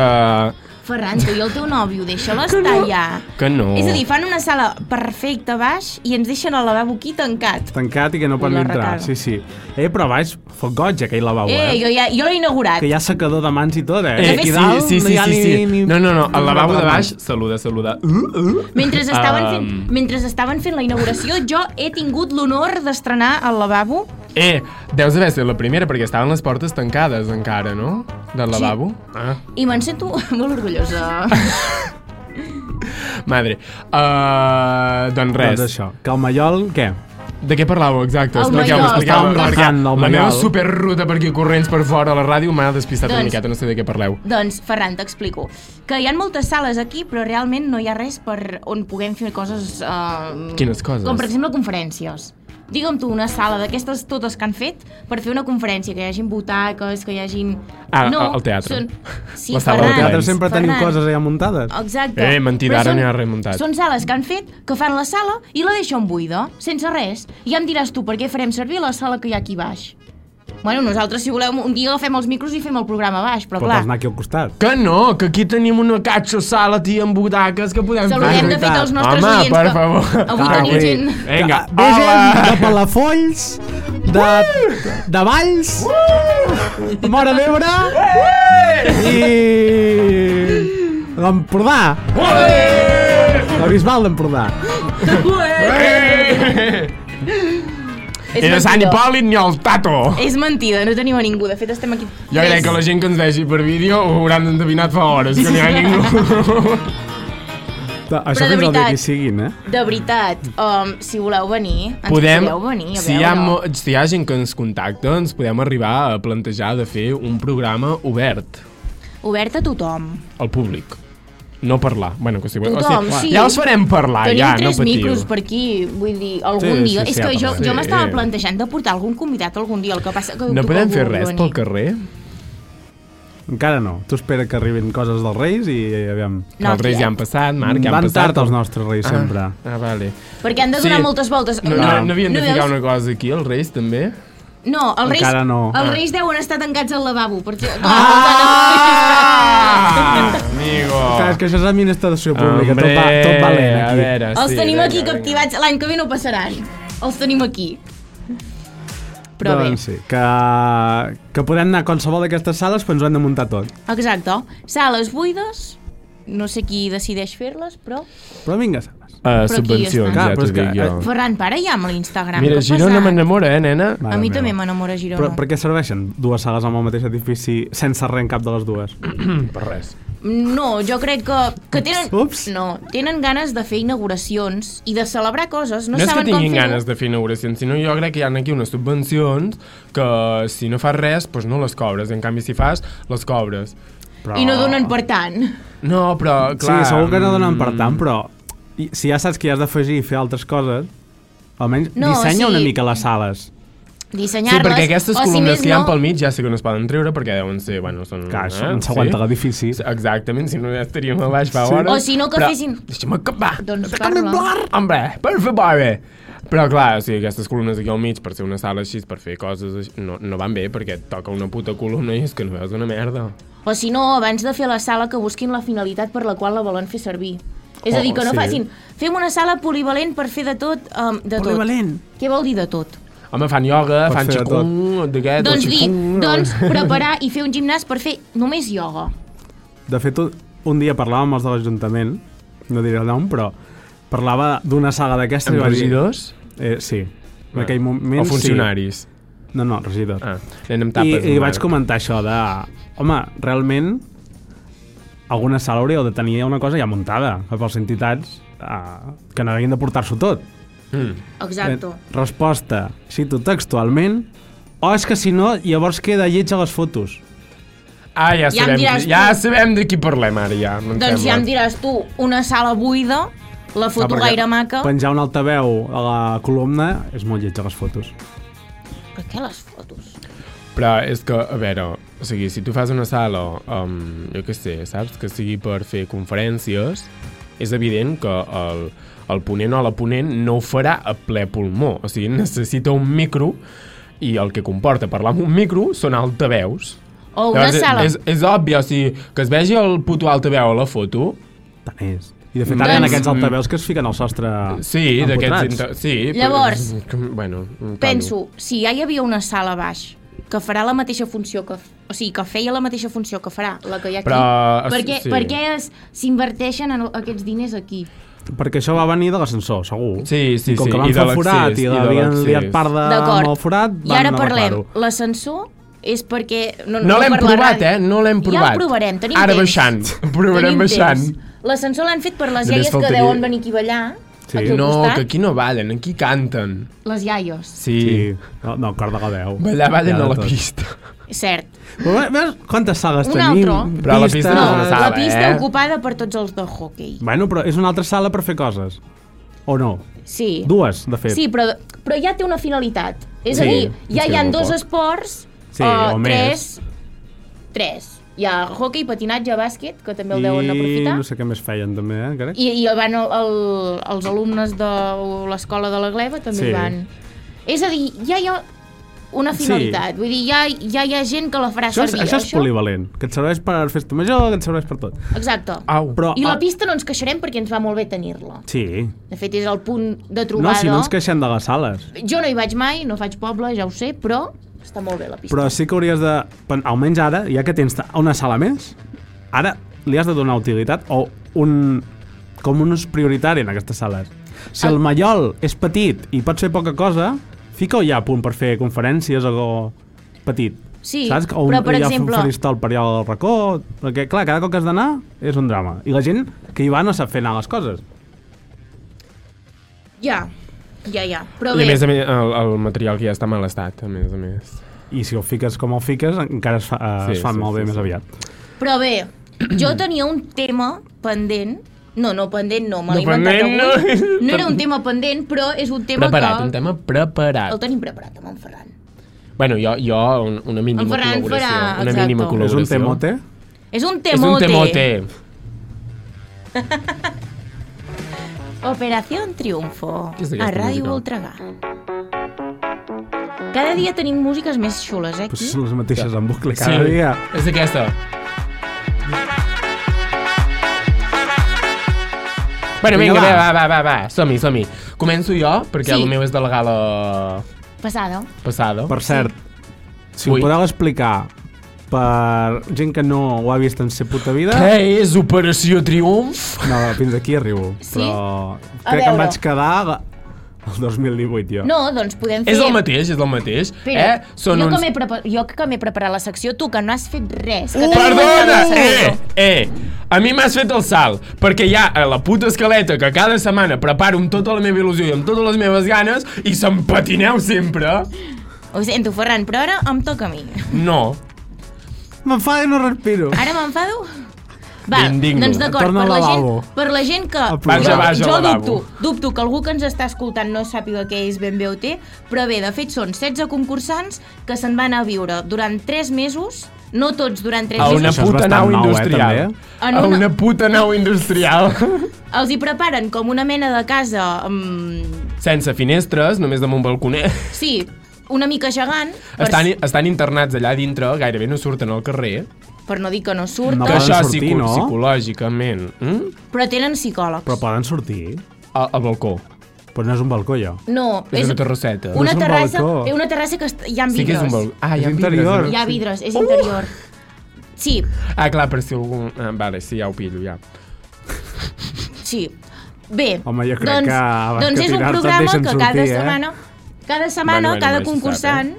C: Ferran, tu i el teu nòvio, deixa-la estar
B: no.
C: ja.
B: Que no.
C: És a dir, fan una sala perfecta a baix i ens deixen el lavabo aquí tancat.
A: Tancat i que no pot
C: Ui,
A: ni
C: la
A: entrar.
C: retarda.
A: Sí, sí. Eh, però baix, foc goig, aquell
B: Ah,
A: lavabo,
C: Eh,
A: eh?
C: jo, ja, jo l'he inaugurat.
A: Que hi ha secador de mans i tot, eh?
B: Eh,
C: fet,
A: Aquí
B: sí,
A: dalt
B: sí,
A: no
B: sí,
A: hi ha
B: sí,
A: ni-
B: sí.
A: ni-
B: No, no, no, al lavabo de
A: ni-
B: baix, saluda, saluda. Uh, uh.
C: Mentre estaven, fent,
B: Um.
C: mentre estaven fent la inauguració, jo he tingut l'honor d'estrenar el lavabo.
B: Eh, deus haver estat la primera perquè estaven les portes tancades encara, no? Del lavabo. Ah,
C: I me'n sento [LAUGHS] molt orgullosa.
B: madre. Uh, doncs res.
A: Doncs això, que el Mallol, què?
B: De què parlàveu, exacte?
C: El
B: Expliqueu-ho,
C: mallol.
B: expliqueu-ho,
A: Estàvem
B: perquè
A: rajant el
B: La meva
A: mallol.
B: superruta per aquí corrents per fora a la ràdio m'ha despistat una
C: Doncs-
B: miqueta, no sé de què parleu.
C: doncs, Ferran, t'explico. Que hi ha moltes sales aquí, però realment no hi ha res per on puguem fer coses... Eh,
B: Quines coses?
C: Com, per exemple, conferències. Digue'm tu una sala d'aquestes totes que han fet per fer una conferència, que hi hagin butaques, que hi hagin...
B: Ah, al teatre.
C: Sí,
B: La sala del
A: Al
C: Ferran,
A: teatre
B: Ferran.
A: sempre tenim
C: Ferran.
A: coses allà muntades.
C: Exacte.
B: Eh, mentida,
C: Però
B: ara
C: són-
B: n'hi ha remuntat.
C: Són sales que han fet, que fan la sala i la deixen buida, sense res. I ja em diràs tu per què farem servir la sala que hi ha aquí baix. Bueno, nosaltres, si voleu, un dia agafem els micros i fem el programa a baix, però
A: Pot
C: clar,
A: anar aquí al costat.
B: Que no, que aquí tenim una catxa sala, tia, amb butaques que podem
C: saludem de
B: fer.
C: fet els nostres
B: Home,
C: oients.
B: per
C: que
B: favor.
C: Avui
B: Ah,
C: tenim
B: avui.
C: gent...
B: Vinga,
A: Que- Ve gent
B: hola!
A: de Palafolls, de, de Valls, de Mora d'Ebre i l'Empordà, la Bisbal d'Empordà.
C: És
B: Ni de Sant
C: mentida.
B: Hipòlit ni el Tato.
C: És mentida, no tenim a ningú. De fet, estem aquí...
B: Jo crec que la gent que ens vegi per vídeo ho hauran endevinat fa hores, que n'hi ha ningú.
A: Això
C: de
A: fins al dia
C: veritat.
A: que hi siguin, eh?
C: De veritat, um, si voleu venir,
B: [LAUGHS]
C: ens
B: podem,
C: podeu venir a
B: si hi,
C: veure.
B: ha, mo- si hi ha gent que ens contacta, ens podem arribar a plantejar de fer un programa obert
C: Obert a tothom.
B: al públic. No parlar. Bueno, que si voleu-
C: Tothom, sí.
B: Ja us farem parlar,
C: Tenim
B: Ah, ja, no
C: tres
B: patiu.
C: micros per aquí, vull dir, algun
A: Sí, sí,
C: dia...
A: sí,
C: és
A: ja
C: que jo,
A: parlarem.
C: jo m'estava
B: Sí.
C: plantejant de portar algun convidat algun dia, el que passa que...
B: No
C: tu
B: podem
C: com
B: fer
C: vulguis
B: res
C: venir.
B: pel carrer?
A: Encara no. Tu espera que arribin coses dels Reis i aviam...
B: No, els reis ja han passat, Marc, ja han
A: Van
B: passat.
A: tard els nostres Reis, sempre.
B: Ah, ah, vale.
C: Perquè han de donar
B: Sí.
C: moltes voltes.
B: No, no, no havien de
C: no
B: ficar
C: veus?
B: una cosa aquí, els reis, també?
C: No, els reis,
A: Encara no. Ah.
C: els reis deuen estar tancats al lavabo. Perquè,
B: Ah! Amigo!
A: Clar, és que això és administració pública, tot, va, tot valent
B: a
A: aquí.
B: veure,
C: els
B: sí, Ah,
C: tenim
B: vinga,
C: aquí
B: vinga.
C: captivats, l'any que ve no passaran. Els tenim aquí. Però
A: doncs sí, que, que podem anar a qualsevol d'aquestes sales, però ens ho hem de muntar tot.
C: bé, exacte. Sales buides, no sé qui decideix fer-les, però...
A: Però vinga, sales.
B: Uh,
C: aquí
B: subvencions,
C: estan.
B: ja
A: Clar, però
B: t'ho
A: és que, eh,
B: dic jo.
C: Ferran, para ja amb l'Instagram.
B: Mira,
C: què ha
B: Girona
C: passat?
B: m'enamora, eh,
C: [CLEARS THROAT]
B: nena?
C: A mi
A: Mare
C: també
A: meva.
C: m'enamora Girona.
A: Però per què serveixen dues sales amb el mateix edifici sense res en cap de les dues?
B: Per res.
C: No, jo crec que, que tenen...
A: Ups.
C: No, tenen ganes de fer inauguracions i de celebrar coses. No,
B: No, no és que
C: saben
B: tinguin
C: com fer
B: ganes de fer inauguracions, sinó jo crec que hi ha aquí unes subvencions que si no fas res, doncs no les cobres. En canvi, si fas, les cobres.
A: Però...
C: I no donen per tant.
B: No, però,
A: Clar, mm.
B: clar... mm,
A: sí, segur que no donen per tant, però i- si ja saps que hi has d'afegir i fer altres coses, almenys
C: No,
A: no, dissenya
C: sí.
A: sí. una mica les sales.
B: Sí,
C: Dissenyar-les...
B: perquè aquestes
C: o, si
B: columnes
C: més
B: que hi ha
C: no,
B: pel mig ja sé que no es poden treure perquè deuen ser, bueno, són... eh,
A: Clar, això no s'aguanta l'edifici.
B: Exactament, si no ja estaríem a baix fa
A: Sí.
B: hores.
C: O si no que fessin-
B: Deixa'm acabar.
C: Doncs
B: Deixa'm
C: parla.
B: parlar, Hombre, per favor. Però clar, o sigui, aquestes columnes aquí al mig, per ser una sala així, per fer coses així, no, no van bé perquè et toca una puta columna i és que no veus una merda.
C: O si no, abans de fer la sala, que busquin la finalitat per la qual la volen fer servir. És
B: Oh,
C: a dir, que no
B: sí.
C: facin... Fem una sala polivalent per fer de tot... Um, de tot.
A: Polivalent.
C: Què vol dir de tot?
B: Home, fan yoga,
A: Pots
B: fan
A: fer de
B: xicung, d'aquest,
C: doncs
B: el
C: dir,
B: xicung...
C: doncs
B: [LAUGHS]
C: preparar i fer un gimnàs per fer només ioga.
A: De fet, un- un dia parlàvem amb els de l'Ajuntament, no diré el nom, però parlava d'una saga d'aquestes. i
B: Amb
A: va dir-
B: regidors?
A: Eh, sí, en aquell moment...
B: O funcionaris?
A: Sí. No, no, regidors.
B: Ah, anem amb
A: I,
B: tapes.
A: I
B: no,
A: vaig
B: Marc.
A: comentar això de... Home, realment, alguna sala hauríeu de tenir una cosa ja muntada, que pels entitats eh, que no haguin de portar-s'ho tot.
B: Mm.
C: Exacto.
A: Eh, Resposta, cito textualment, o és que si no, llavors queda lleig a les fotos.
B: Ah, ja,
C: Ja em
B: sabem,
C: diràs
B: ja
C: tu.
B: sabem de qui parlem ara, ja. em
C: Doncs ja em
B: Eh, sembla.
C: diràs tu, una sala buida, la foto
A: Ah, perquè
C: gaire maca...
A: Penjar un altaveu a la columna és molt lleig a les fotos.
C: Per què les fotos?
B: Però és que, a veure, o sigui, si tu fas una sala, um, jo què sé, saps, que sigui per fer conferències, és evident que el, el ponent o la ponent no ho farà a ple pulmó. O sigui, necessita un micro i el que comporta parlar amb un micro són altaveus.
C: O Oh, una
B: Llavors,
C: sala.
B: És, és obvi, o sigui, que es vegi el puto altaveu a la foto,
A: Tant és. I de fet ara hi ha
C: Doncs-
A: aquests altaveus que es fiquen al sostre
B: Mm. sí, d'aquests...
A: empotrats.
B: inter- Sí, però-
C: Llavors,
B: Mm, bueno, calma.
C: Penso, si ja hi havia una sala a baix que farà la mateixa funció que... f- O sigui, que feia la mateixa funció que farà la que hi ha aquí.
B: Però,
C: per què,
B: sí.
C: per què es- s'inverteixen en aquests diners aquí?
A: Perquè això va venir de l'ascensor, segur.
B: Sí, sí,
A: I com
B: sí,
A: que
B: i
A: van
B: de
A: fer el forat
B: l'accés,
A: i,
B: i de
A: l'havien
B: l'accés.
A: liat part de,
C: D'acord.
A: amb el forat,
C: I ara
A: van
C: parlem,
A: arreglar-ho.
C: l'ascensor és perquè...
B: No l'hem
C: per la
B: provat,
C: ràdio.
B: eh? No l'hem provat.
C: Ja el provarem, tenim
B: Ara
C: temps.
B: baixant,
C: [LAUGHS]
B: [LAUGHS] ho provarem
C: Tenim
B: baixant.
C: temps. L'ascensor l'han fet per les
B: Només
C: iaies que
B: faltaria-
C: deuen venir aquí a ballar.
A: Sí.
C: Aquí al
B: No,
C: costat.
B: que aquí no ballen, aquí canten.
C: Les iaies.
B: Sí.
A: Sí, no, no cor de Gadeu.
B: Ballar ballen
A: Ja de
B: a la
A: tot.
B: pista.
C: Cert.
A: Però ve- veus quantes sales
C: Un
A: tenim?
C: altre.
B: Però a la pista
C: No,
B: és una
C: la
B: sala,
C: pista
B: eh?
C: ocupada per tots els de hockey.
A: Bueno, però és una altra sala per fer coses. O no?
C: Sí.
A: Dues, de fet.
C: Sí, però, però ja té una finalitat. És
B: Sí,
C: a dir,
B: ens
C: ja hi
B: queda
C: ha
B: molt
C: dos
B: poc.
C: esports,
A: Sí,
C: o
A: o més.
C: tres, tres. Hi ha hockey, patinatge, bàsquet, que també el deuen aprofitar.
A: I no sé què més feien, també, eh? crec.
C: I, i van el, el, els alumnes de l'escola de la Gleva també
A: Sí.
C: sí. van. És a dir, ja hi ha una finalitat. Sí. Vull dir, ja, ja hi ha gent que la farà
A: Això, és,
C: servir.
A: això és polivalent, que et serveix per festa major, que et serveix per tot.
C: Exacte.
B: Au.
A: Però,
C: I la
A: ah,
C: pista no ens queixarem perquè ens va molt bé tenir-la.
A: Sí.
C: De fet, és el punt de
A: No,
C: trobada.
A: si no ens queixem de les sales.
C: Jo no hi vaig mai, no faig poble, ja ho sé, però està molt bé la pista.
A: Però sí que hauries de... pen- Almenys ara, ja que tens ta- una sala més, ara li has de donar utilitat o un, com un ús prioritari en aquestes sales. Si el mallol és petit i pots fer poca cosa, fica-ho ja a punt per fer conferències o petit.
C: Sí,
A: Saps? O un,
C: però, per
A: hi ha
C: exemple-
A: un faristol per allà al racó, perquè clar, cada cop que has d'anar és un drama. I la gent que hi va no sap fer anar les coses.
C: Ja, ja, ja. Però
B: I a
C: bé,
B: més a més, el, el material que ja està en mal estat, a més a més.
A: I si ho fiques com ho fiques, encara es, fa, eh,
B: Sí,
A: es fan
B: sí,
A: molt
B: sí,
A: bé
B: sí.
A: més aviat.
C: però bé, jo tenia un tema pendent, no, no, pendent no, me l'he
B: No,
C: inventat
B: pendent
C: avui.
B: no.
C: No era un tema pendent, però és un tema
B: Preparat,
C: que...
B: un tema preparat.
C: El tenim preparat amb en Ferran.
B: Bueno, jo, jo un- una mínima
C: En Ferran
B: col·laboració.
C: farà-
B: una
C: exacte.
B: mínima
C: És un
A: És
B: col·laboració.
A: un temote?
C: És un
B: És un
C: temote.
B: temote.
C: Operación Triunfo,
B: Què és
C: a
B: aquesta
C: Ràdio
B: música?
C: Voltregà. Cada dia tenim músiques més xules, eh,
A: Pues
C: aquí?
A: són les mateixes en bucle cada sí. dia.
B: És aquesta. Bueno,
A: Vinga,
B: vinga,
A: va.
B: va, va, va, va, va. som-hi, som-hi. Començo jo, perquè
C: Sí.
B: el meu és de la gala
C: Passada.
B: passada.
A: Per cert, si
B: Ui.
A: ho podeu explicar per gent que no ho ha vist en ser puta vida...
B: Què és Operació Triomf?
A: No, fins aquí arribo.
C: Sí?
A: Però
C: A
A: crec que em
C: veure.
A: vaig quedar la- el 2018, jo.
C: No, doncs podem fer...
B: És el mateix, és el mateix.
C: Espera,
B: eh? Són
C: jo,
B: uns...
C: que m'he prepa- jo que m'he preparat la secció, tu que no has fet res. Que
B: Uh,
C: t'has
B: perdona!
C: inventat la secció.
B: Eh, eh! A mi m'has fet el salt, perquè hi ha eh, la puta escaleta que cada setmana preparo amb tota la meva il·lusió i amb totes les meves ganes i se'm patineu sempre.
C: Ho sento, Ferran, però ara em toca a mi.
B: No.
A: M'enfada i no respiro.
C: Ara m'enfado? Va,
B: M'indigno.
C: doncs d'acord,
A: Torna
C: per,
A: al
C: la gent,
A: lavabo.
C: per la gent que...
A: plorar.
B: Vaja, vaja,
C: jo
B: al lavabo.
C: dubto, dubto que algú que ens està escoltant no sàpiga què és ben bé o té, però bé, de fet són 16 concursants que se'n van a viure durant 3 mesos, no tots durant 3
B: A una
A: Això és
C: mesos,
B: puta
A: bastant
B: nau
A: nou, eh,
B: industrial.
A: també,
C: eh? En
B: A
C: una-
B: una puta nau industrial.
C: els hi preparen com una mena de casa, amb...
B: [LAUGHS] Sense finestres, només amb un balconet.
C: sí, una mica gegant, per,
B: Estan, estan internats allà dintre, gairebé no surten al carrer.
C: per no dir que no surten,
A: No
B: que
A: poden
B: això
A: sortir,
B: psico
A: no?
B: psicològicament. Mm?
C: però tenen psicòlegs.
A: Però poden sortir.
B: Al, al balcó.
A: Però no és un balcó, jo.
C: No,
B: És una terrasseta.
A: No
C: Una
A: és un
C: terrassa,
A: balcó.
C: eh, una terrassa que est- hi ha
B: Sí que
C: vidres.
B: és un balcó. Ah, hi ha
A: És
B: vidres,
A: interior.
B: no?
C: Hi ha vidres, és interior. Sí,
B: Ah, clar, per si algun... Ah, vale, sí, ja ho pillo, ja.
C: sí. Bé,
A: Home, jo crec
C: doncs,
A: que abans
C: doncs
A: que
C: és un
A: tirar-te'n
C: programa
A: deixa'm
C: que cada
A: sortir, eh?
C: setmana, cada
B: Bueno,
C: setmana,
B: bueno,
C: cada
B: mai se
C: concursant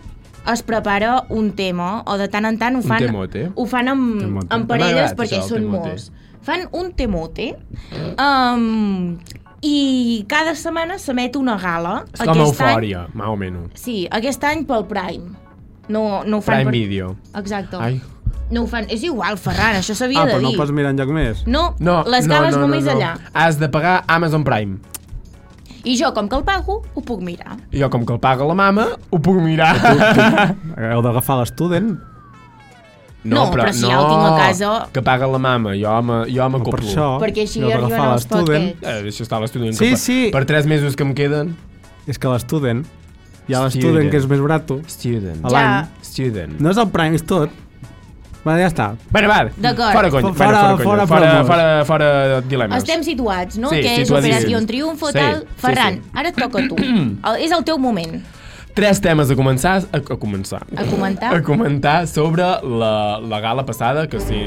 C: es prepara un tema, o de tant en tant ho fan,
B: temote.
C: ho fan amb,
A: Temote.
C: amb
B: M'ha
C: parelles
B: agradat,
C: perquè
B: això, el
C: són
B: temote.
C: molts. Fan un temote um, i cada setmana s'emet una gala.
B: És com
C: Aquest any-
B: eufòria, any... o menys.
C: Sí, aquest any pel Prime. No, no ho fan
B: Prime
C: per...
B: Video.
C: Exacte.
B: Ai.
C: No ho fan... És igual, Ferran, això s'havia
A: Ah,
C: de
A: però no
C: dir.
A: ho pots mirar enlloc més?
C: No,
B: No,
C: les
B: no,
C: gales
B: no, no,
C: només
B: no.
C: allà.
B: Has de pagar Amazon Prime.
C: I jo, com que el pago, ho puc mirar.
B: I jo, com que el paga la mama, ho puc mirar.
A: Heu d'agafar l'estudent?
C: No, però si ja el tinc a casa-
B: Que paga la mama, jo me, jo
A: No, per
B: m'acoplo.
A: això...
C: Perquè així
A: heu d'agafar
C: arriben els
A: l'estudent.
C: paquets.
B: Eh, això està a l'estudi.
A: Sí,
B: que per,
A: sí.
B: Per tres mesos que em queden...
A: És que l'estudent... Hi ha
B: Student.
A: l'estudent que és més barato.
B: Student.
A: A l'any.
C: Ja.
B: Student.
A: No és el Prime, és tot. Bueno, ja està.
B: Bueno, va,
C: D'acord.
B: fora conya.
A: Fora-
B: bueno,
A: fora
B: fora, conya. fora,
A: promos.
B: fora, fora dilemes.
C: Estem situats, no?
B: Sí,
C: que és
B: situadíssims.
C: Operació Triunfo,
B: Sí,
C: tal.
B: sí,
C: Ferran,
B: sí.
C: ara et toca
B: [CLEARS THROAT]
C: a tu. El- és el teu moment.
B: Tres temes a començar... A, a començar.
C: A comentar.
B: A comentar sobre la, la gala passada, que si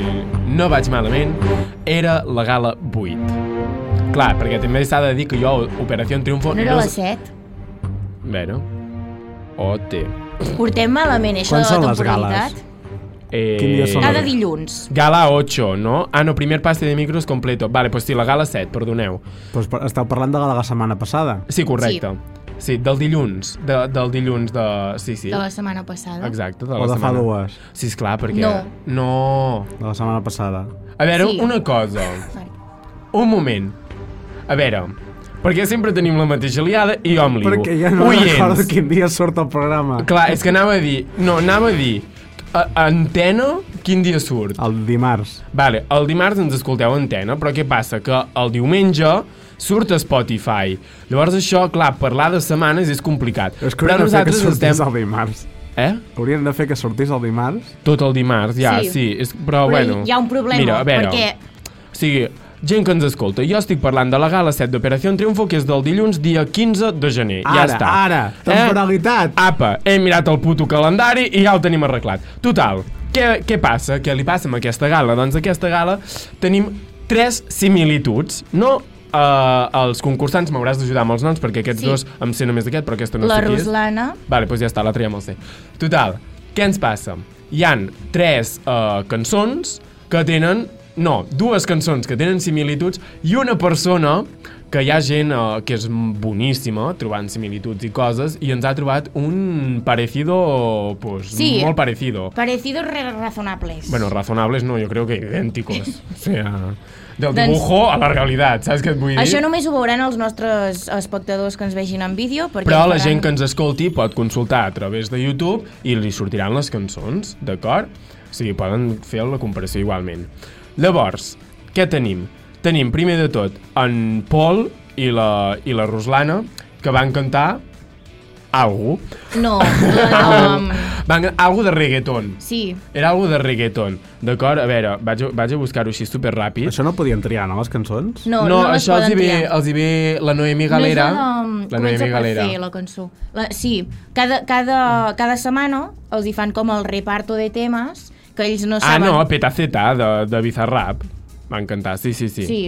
B: no vaig malament, era la gala 8. Clar, perquè també s'ha de dir que jo, Operació Triunfo...
C: No era
B: no
C: les
B: sé-
C: 7.
B: Bueno. OT.
C: Portem malament això
A: Quan
C: de la
A: són les
C: temporalitat.
B: Eh,
A: Quin dia són?
C: Cada
A: Vale.
C: dilluns.
B: Gala 8, ¿no? Ah, no, primer pase de micros completo. Vale, pues sí, la gala 7, perdoneu.
A: Pues per- esteu parlant de la de la setmana passada.
B: Sí, correcte. Sí, del dilluns. De, del dilluns de... Sí, sí.
C: De la setmana passada.
B: Exacte, de la
A: O de fa
B: setmana.
A: dues,
B: Sí, esclar, perquè...
C: No.
B: No.
A: de la setmana passada.
B: A veure,
C: Sí.
B: una cosa. Un moment. A veure, perquè sempre tenim la mateixa liada i jo em lio.
A: Perquè ja no
B: Oients.
A: recordo quin dia surt el programa.
B: Clar, és que anava a dir... No, anava a dir... A, antena, quin dia surt?
A: El dimarts.
B: Vale, el dimarts ens escolteu a antena, però què passa? Que el diumenge surt a Spotify. Llavors això, clar, parlar de setmanes és complicat.
A: És que haurien de fer que sortís el dimarts.
B: Eh?
A: Haurien de fer que sortís el dimarts.
B: Tot el dimarts, ja,
C: Sí.
B: sí. sí és, però,
C: Però
B: Oh, bueno...
C: hi ha un problema,
B: mira, a veure,
C: perquè-
B: O sigui, gent que ens escolta, jo estic parlant de la gala 7 d'Operació Triunfo, que és del dilluns dia 15 de gener. ja
A: Ara,
B: està. Eh?
A: ara, Doncs temporalitat.
B: Apa, he mirat el puto calendari i ja el tenim arreglat. Total, què, què passa? Què li passa amb aquesta gala? Doncs aquesta gala tenim tres similituds, no Uh, els concursants m'hauràs d'ajudar amb els noms perquè aquests
C: Sí.
B: dos em sé només aquest però aquesta no
C: La
B: sé qui és.
C: Ruslana.
B: Vale, doncs ja està, la traiem al C. Total, què ens passa? Hi han tres uh, cançons que tenen... No, dues cançons que tenen similituds i una persona que hi ha gent uh, que és boníssima trobant similituds i coses i ens ha trobat un parecido, pues,
C: Sí.
B: molt parecido.
C: Parecidos re- razonables.
B: Bueno, razonables no, yo creo que
C: [LAUGHS]
B: idénticos. o sea, del
C: Doncs-
B: dibujo a la realitat, saps què et vull dir?
C: Això només ho veuran els nostres espectadors que ens vegin en vídeo. Perquè
B: Però
C: faran-
B: la gent que ens escolti pot consultar a través de YouTube i li sortiran les cançons, d'acord? O sigui, poden fer la comparació igualment. Llavors, què tenim? Tenim, primer de tot, en Pol i la, i la Ruslana, que van cantar algo. [LAUGHS]
C: No, la, um,
B: Van cantar algo de reggaeton.
C: sí.
B: Era algo de reggaeton, d'acord? A veure, vaig a, vaig a buscar-ho així superràpid.
A: Això no podien triar, no, les cançons?
C: No, no, les
B: això els
C: poden
B: hi, ve,
C: triar.
B: els hi ve la Noemi Galera.
C: No és
B: la
C: la, de-
B: Noemi
C: um, Comença per
B: Galera.
C: Fer, la cançó. La, sí, cada, cada, cada setmana els hi fan com el reparto de temes que ells no
B: Ah,
C: saben.
B: no, Petaceta, de, de Bizarrap. Van cantar, sí, sí, sí.
C: Sí.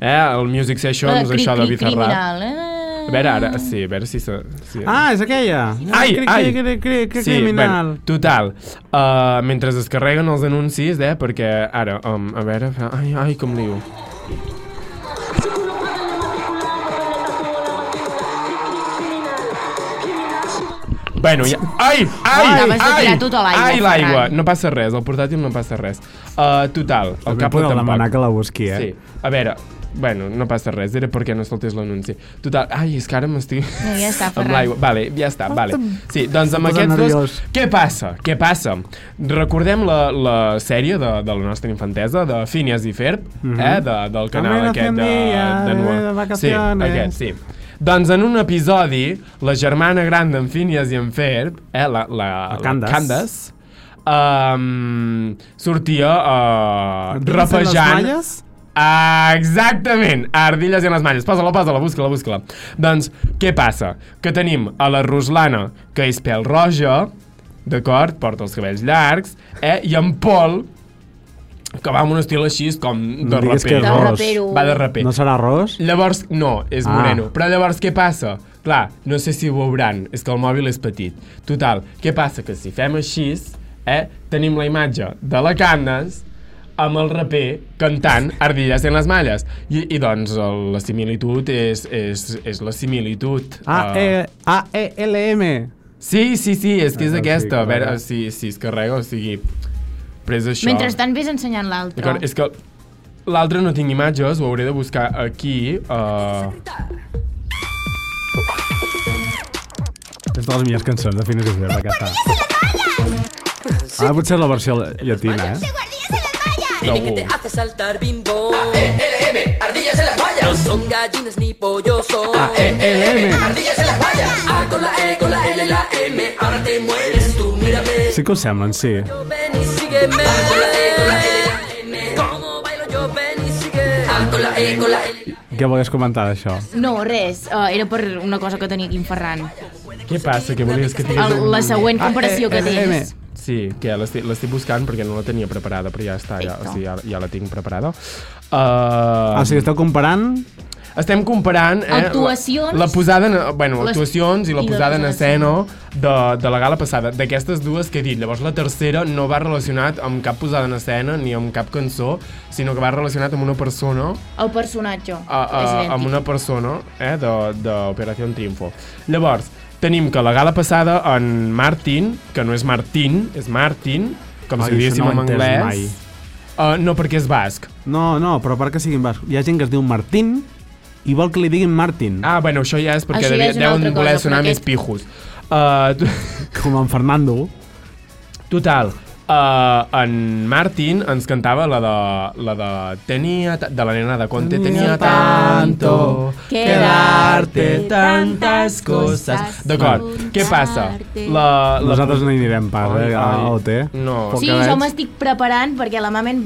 B: Eh, el Music
C: La
B: Sessions,
C: cri-
B: això de
C: cri-
B: Bizarrap.
C: Criminal. eh?
B: A veure, ara, sí, a veure si... Se, sí.
A: Ah, és aquella!
B: Ai,
A: cri,
B: ai!
A: Cri, cri, cri, cri,
B: sí,
A: criminal!
B: Bueno, total, uh, mentre es carreguen els anuncis, eh, perquè ara, um, a veure... fa- Ai, ai, com lio. Bueno, ja... Ai, ai,
C: Ai,
B: ai,
C: l'has de
B: ai,
C: tirar tu a l'aigua,
B: ai, l'aigua.
C: Ferran.
B: No passa res, al portàtil no passa res. Uh, total, el
A: També
B: cable
A: podeu demanar
B: tampoc.
A: que la busqui, eh?
B: Sí, a veure, bueno, no passa res, era perquè no soltés l'anunci. Total, ai, és que ara m'estic...
C: No, ja
B: [LAUGHS]
C: està,
B: amb
C: Ferran.
B: l'aigua. Vale, ja està, vale. Sí, doncs amb
A: posa
B: aquests dos...
A: nerviós.
B: Què passa? Què passa? Recordem la, la sèrie de, de la nostra infantesa, de Phineas i Ferb,
A: Mhm.
B: eh? De, del canal
A: Camino
B: aquest de...
A: 100 días eh, de
B: Noa.
A: vacaciones.
B: Sí, aquest, sí. Doncs en un episodi, la germana gran d'en Phineas i en Ferb, eh, la, la,
A: La Candace.
B: Candace um, sortia uh,
A: Ardilles en les
B: rapejant...
A: malles?
B: Exactament! Ardilles i en les malles. Posa-la, posa-la, busca-la, busca-la. Doncs, què passa? Que tenim a la Ruslana, que és pèl roja, d'acord? Porta els cabells llargs, eh? I en Pol, que va amb un estil així com de
A: No diguis que és
B: raper.
C: De
B: no?
A: ros.
C: rapero.
B: Va de raper.
A: No serà ros?
B: Llavors, no, és
A: Ah.
B: moreno. Però llavors què passa? Clar, no sé si ho veuran, és que el mòbil és petit. Total, què passa? Que si fem així, eh, tenim la imatge de la Cannes, amb el raper cantant Ardillas en les malles. I, i doncs el, la similitud és, és, és la similitud.
A: Ah, E,
B: eh,
A: A-E-L-M.
B: Sí, sí, sí, és que és
A: Ah, sí,
B: aquesta. A veure
A: clar.
B: si, si es carrega, o sigui... Però és això.
C: Mentrestant vés ensenyant l'altre.
B: D'acord, és que l'altre no tinc imatges, ho hauré de buscar aquí. Uh...
A: És de les millors cançons de Fines i Ferb, aquesta. Ara Ah, potser és la versió llatina, eh?
B: No,
F: que te hace saltar bimbo. AELM, E ardillas en las vallas. No son gallinas ni pollos son.
A: AELM.
F: ardillas en las vallas. A con la E, con la L, la M. Ahora te mueres tú, mírame.
A: Sí que ho semblen, sí.
F: Ven y sígueme. A con la E, con la L, la M. Como bailo yo, ven y sigue. A con la E, con la L.
A: Què volies comentar d'això?
C: No, res. Uh, era per una cosa que tenia aquí en Ferran.
B: què passa? Què volies que tingués?
C: El, la següent
B: Ah, eh,
C: comparació que
A: AELM.
C: tens.
B: Sí, que ja l'estic l'estic buscant perquè no la tenia preparada, però ja està, ja, o sigui, ja, ja la tinc preparada. Uh,
A: Ah, o sigui, esteu comparant...
B: Estem comparant... Eh,
C: Actuacions.
B: La, la posada... En, bueno,
C: Les-
B: actuacions i la
C: i la
B: posada en
C: posada,
B: escena de, de la gala passada. D'aquestes dues que he dit. Llavors la tercera no va relacionat amb cap posada en escena ni amb cap cançó, sinó que va relacionat amb una persona
C: El personatge.
B: a, a,
C: és idèntic.
B: Ah, amb una persona eh, d'Operació Triunfo. Llavors, tenim que la gala passada en Martin, que no és Martín, és Martin, com
A: Ai,
B: si ho
A: això
B: diéssim
A: no ho
B: en
A: he entès
B: anglès.
A: mai.
B: Uh, no, perquè és basc.
A: No, no, però a part que siguin bascos. Hi ha gent que es diu Martín i vol que li diguin Martín. Ah.
B: Ah, bueno, això ja és perquè
C: Això ja
B: devi-
C: és una
B: deuen
C: altra
B: voler
C: cosa,
B: sonar
C: però
B: més
C: aquest-
B: pijos. Uh,
A: Com en Fernando.
B: [LAUGHS] total, uh, en Martin ens cantava la de, la de tenia, ta- de la nena de Conte, tenia tanto que darte tantas cosas. D'acord, què passa? La, la,
A: Nosaltres no hi anirem pas, eh, a la OT.
B: No.
A: Poc
C: Sí,
A: que
C: jo
A: veig.
C: m'estic preparant perquè la Mamen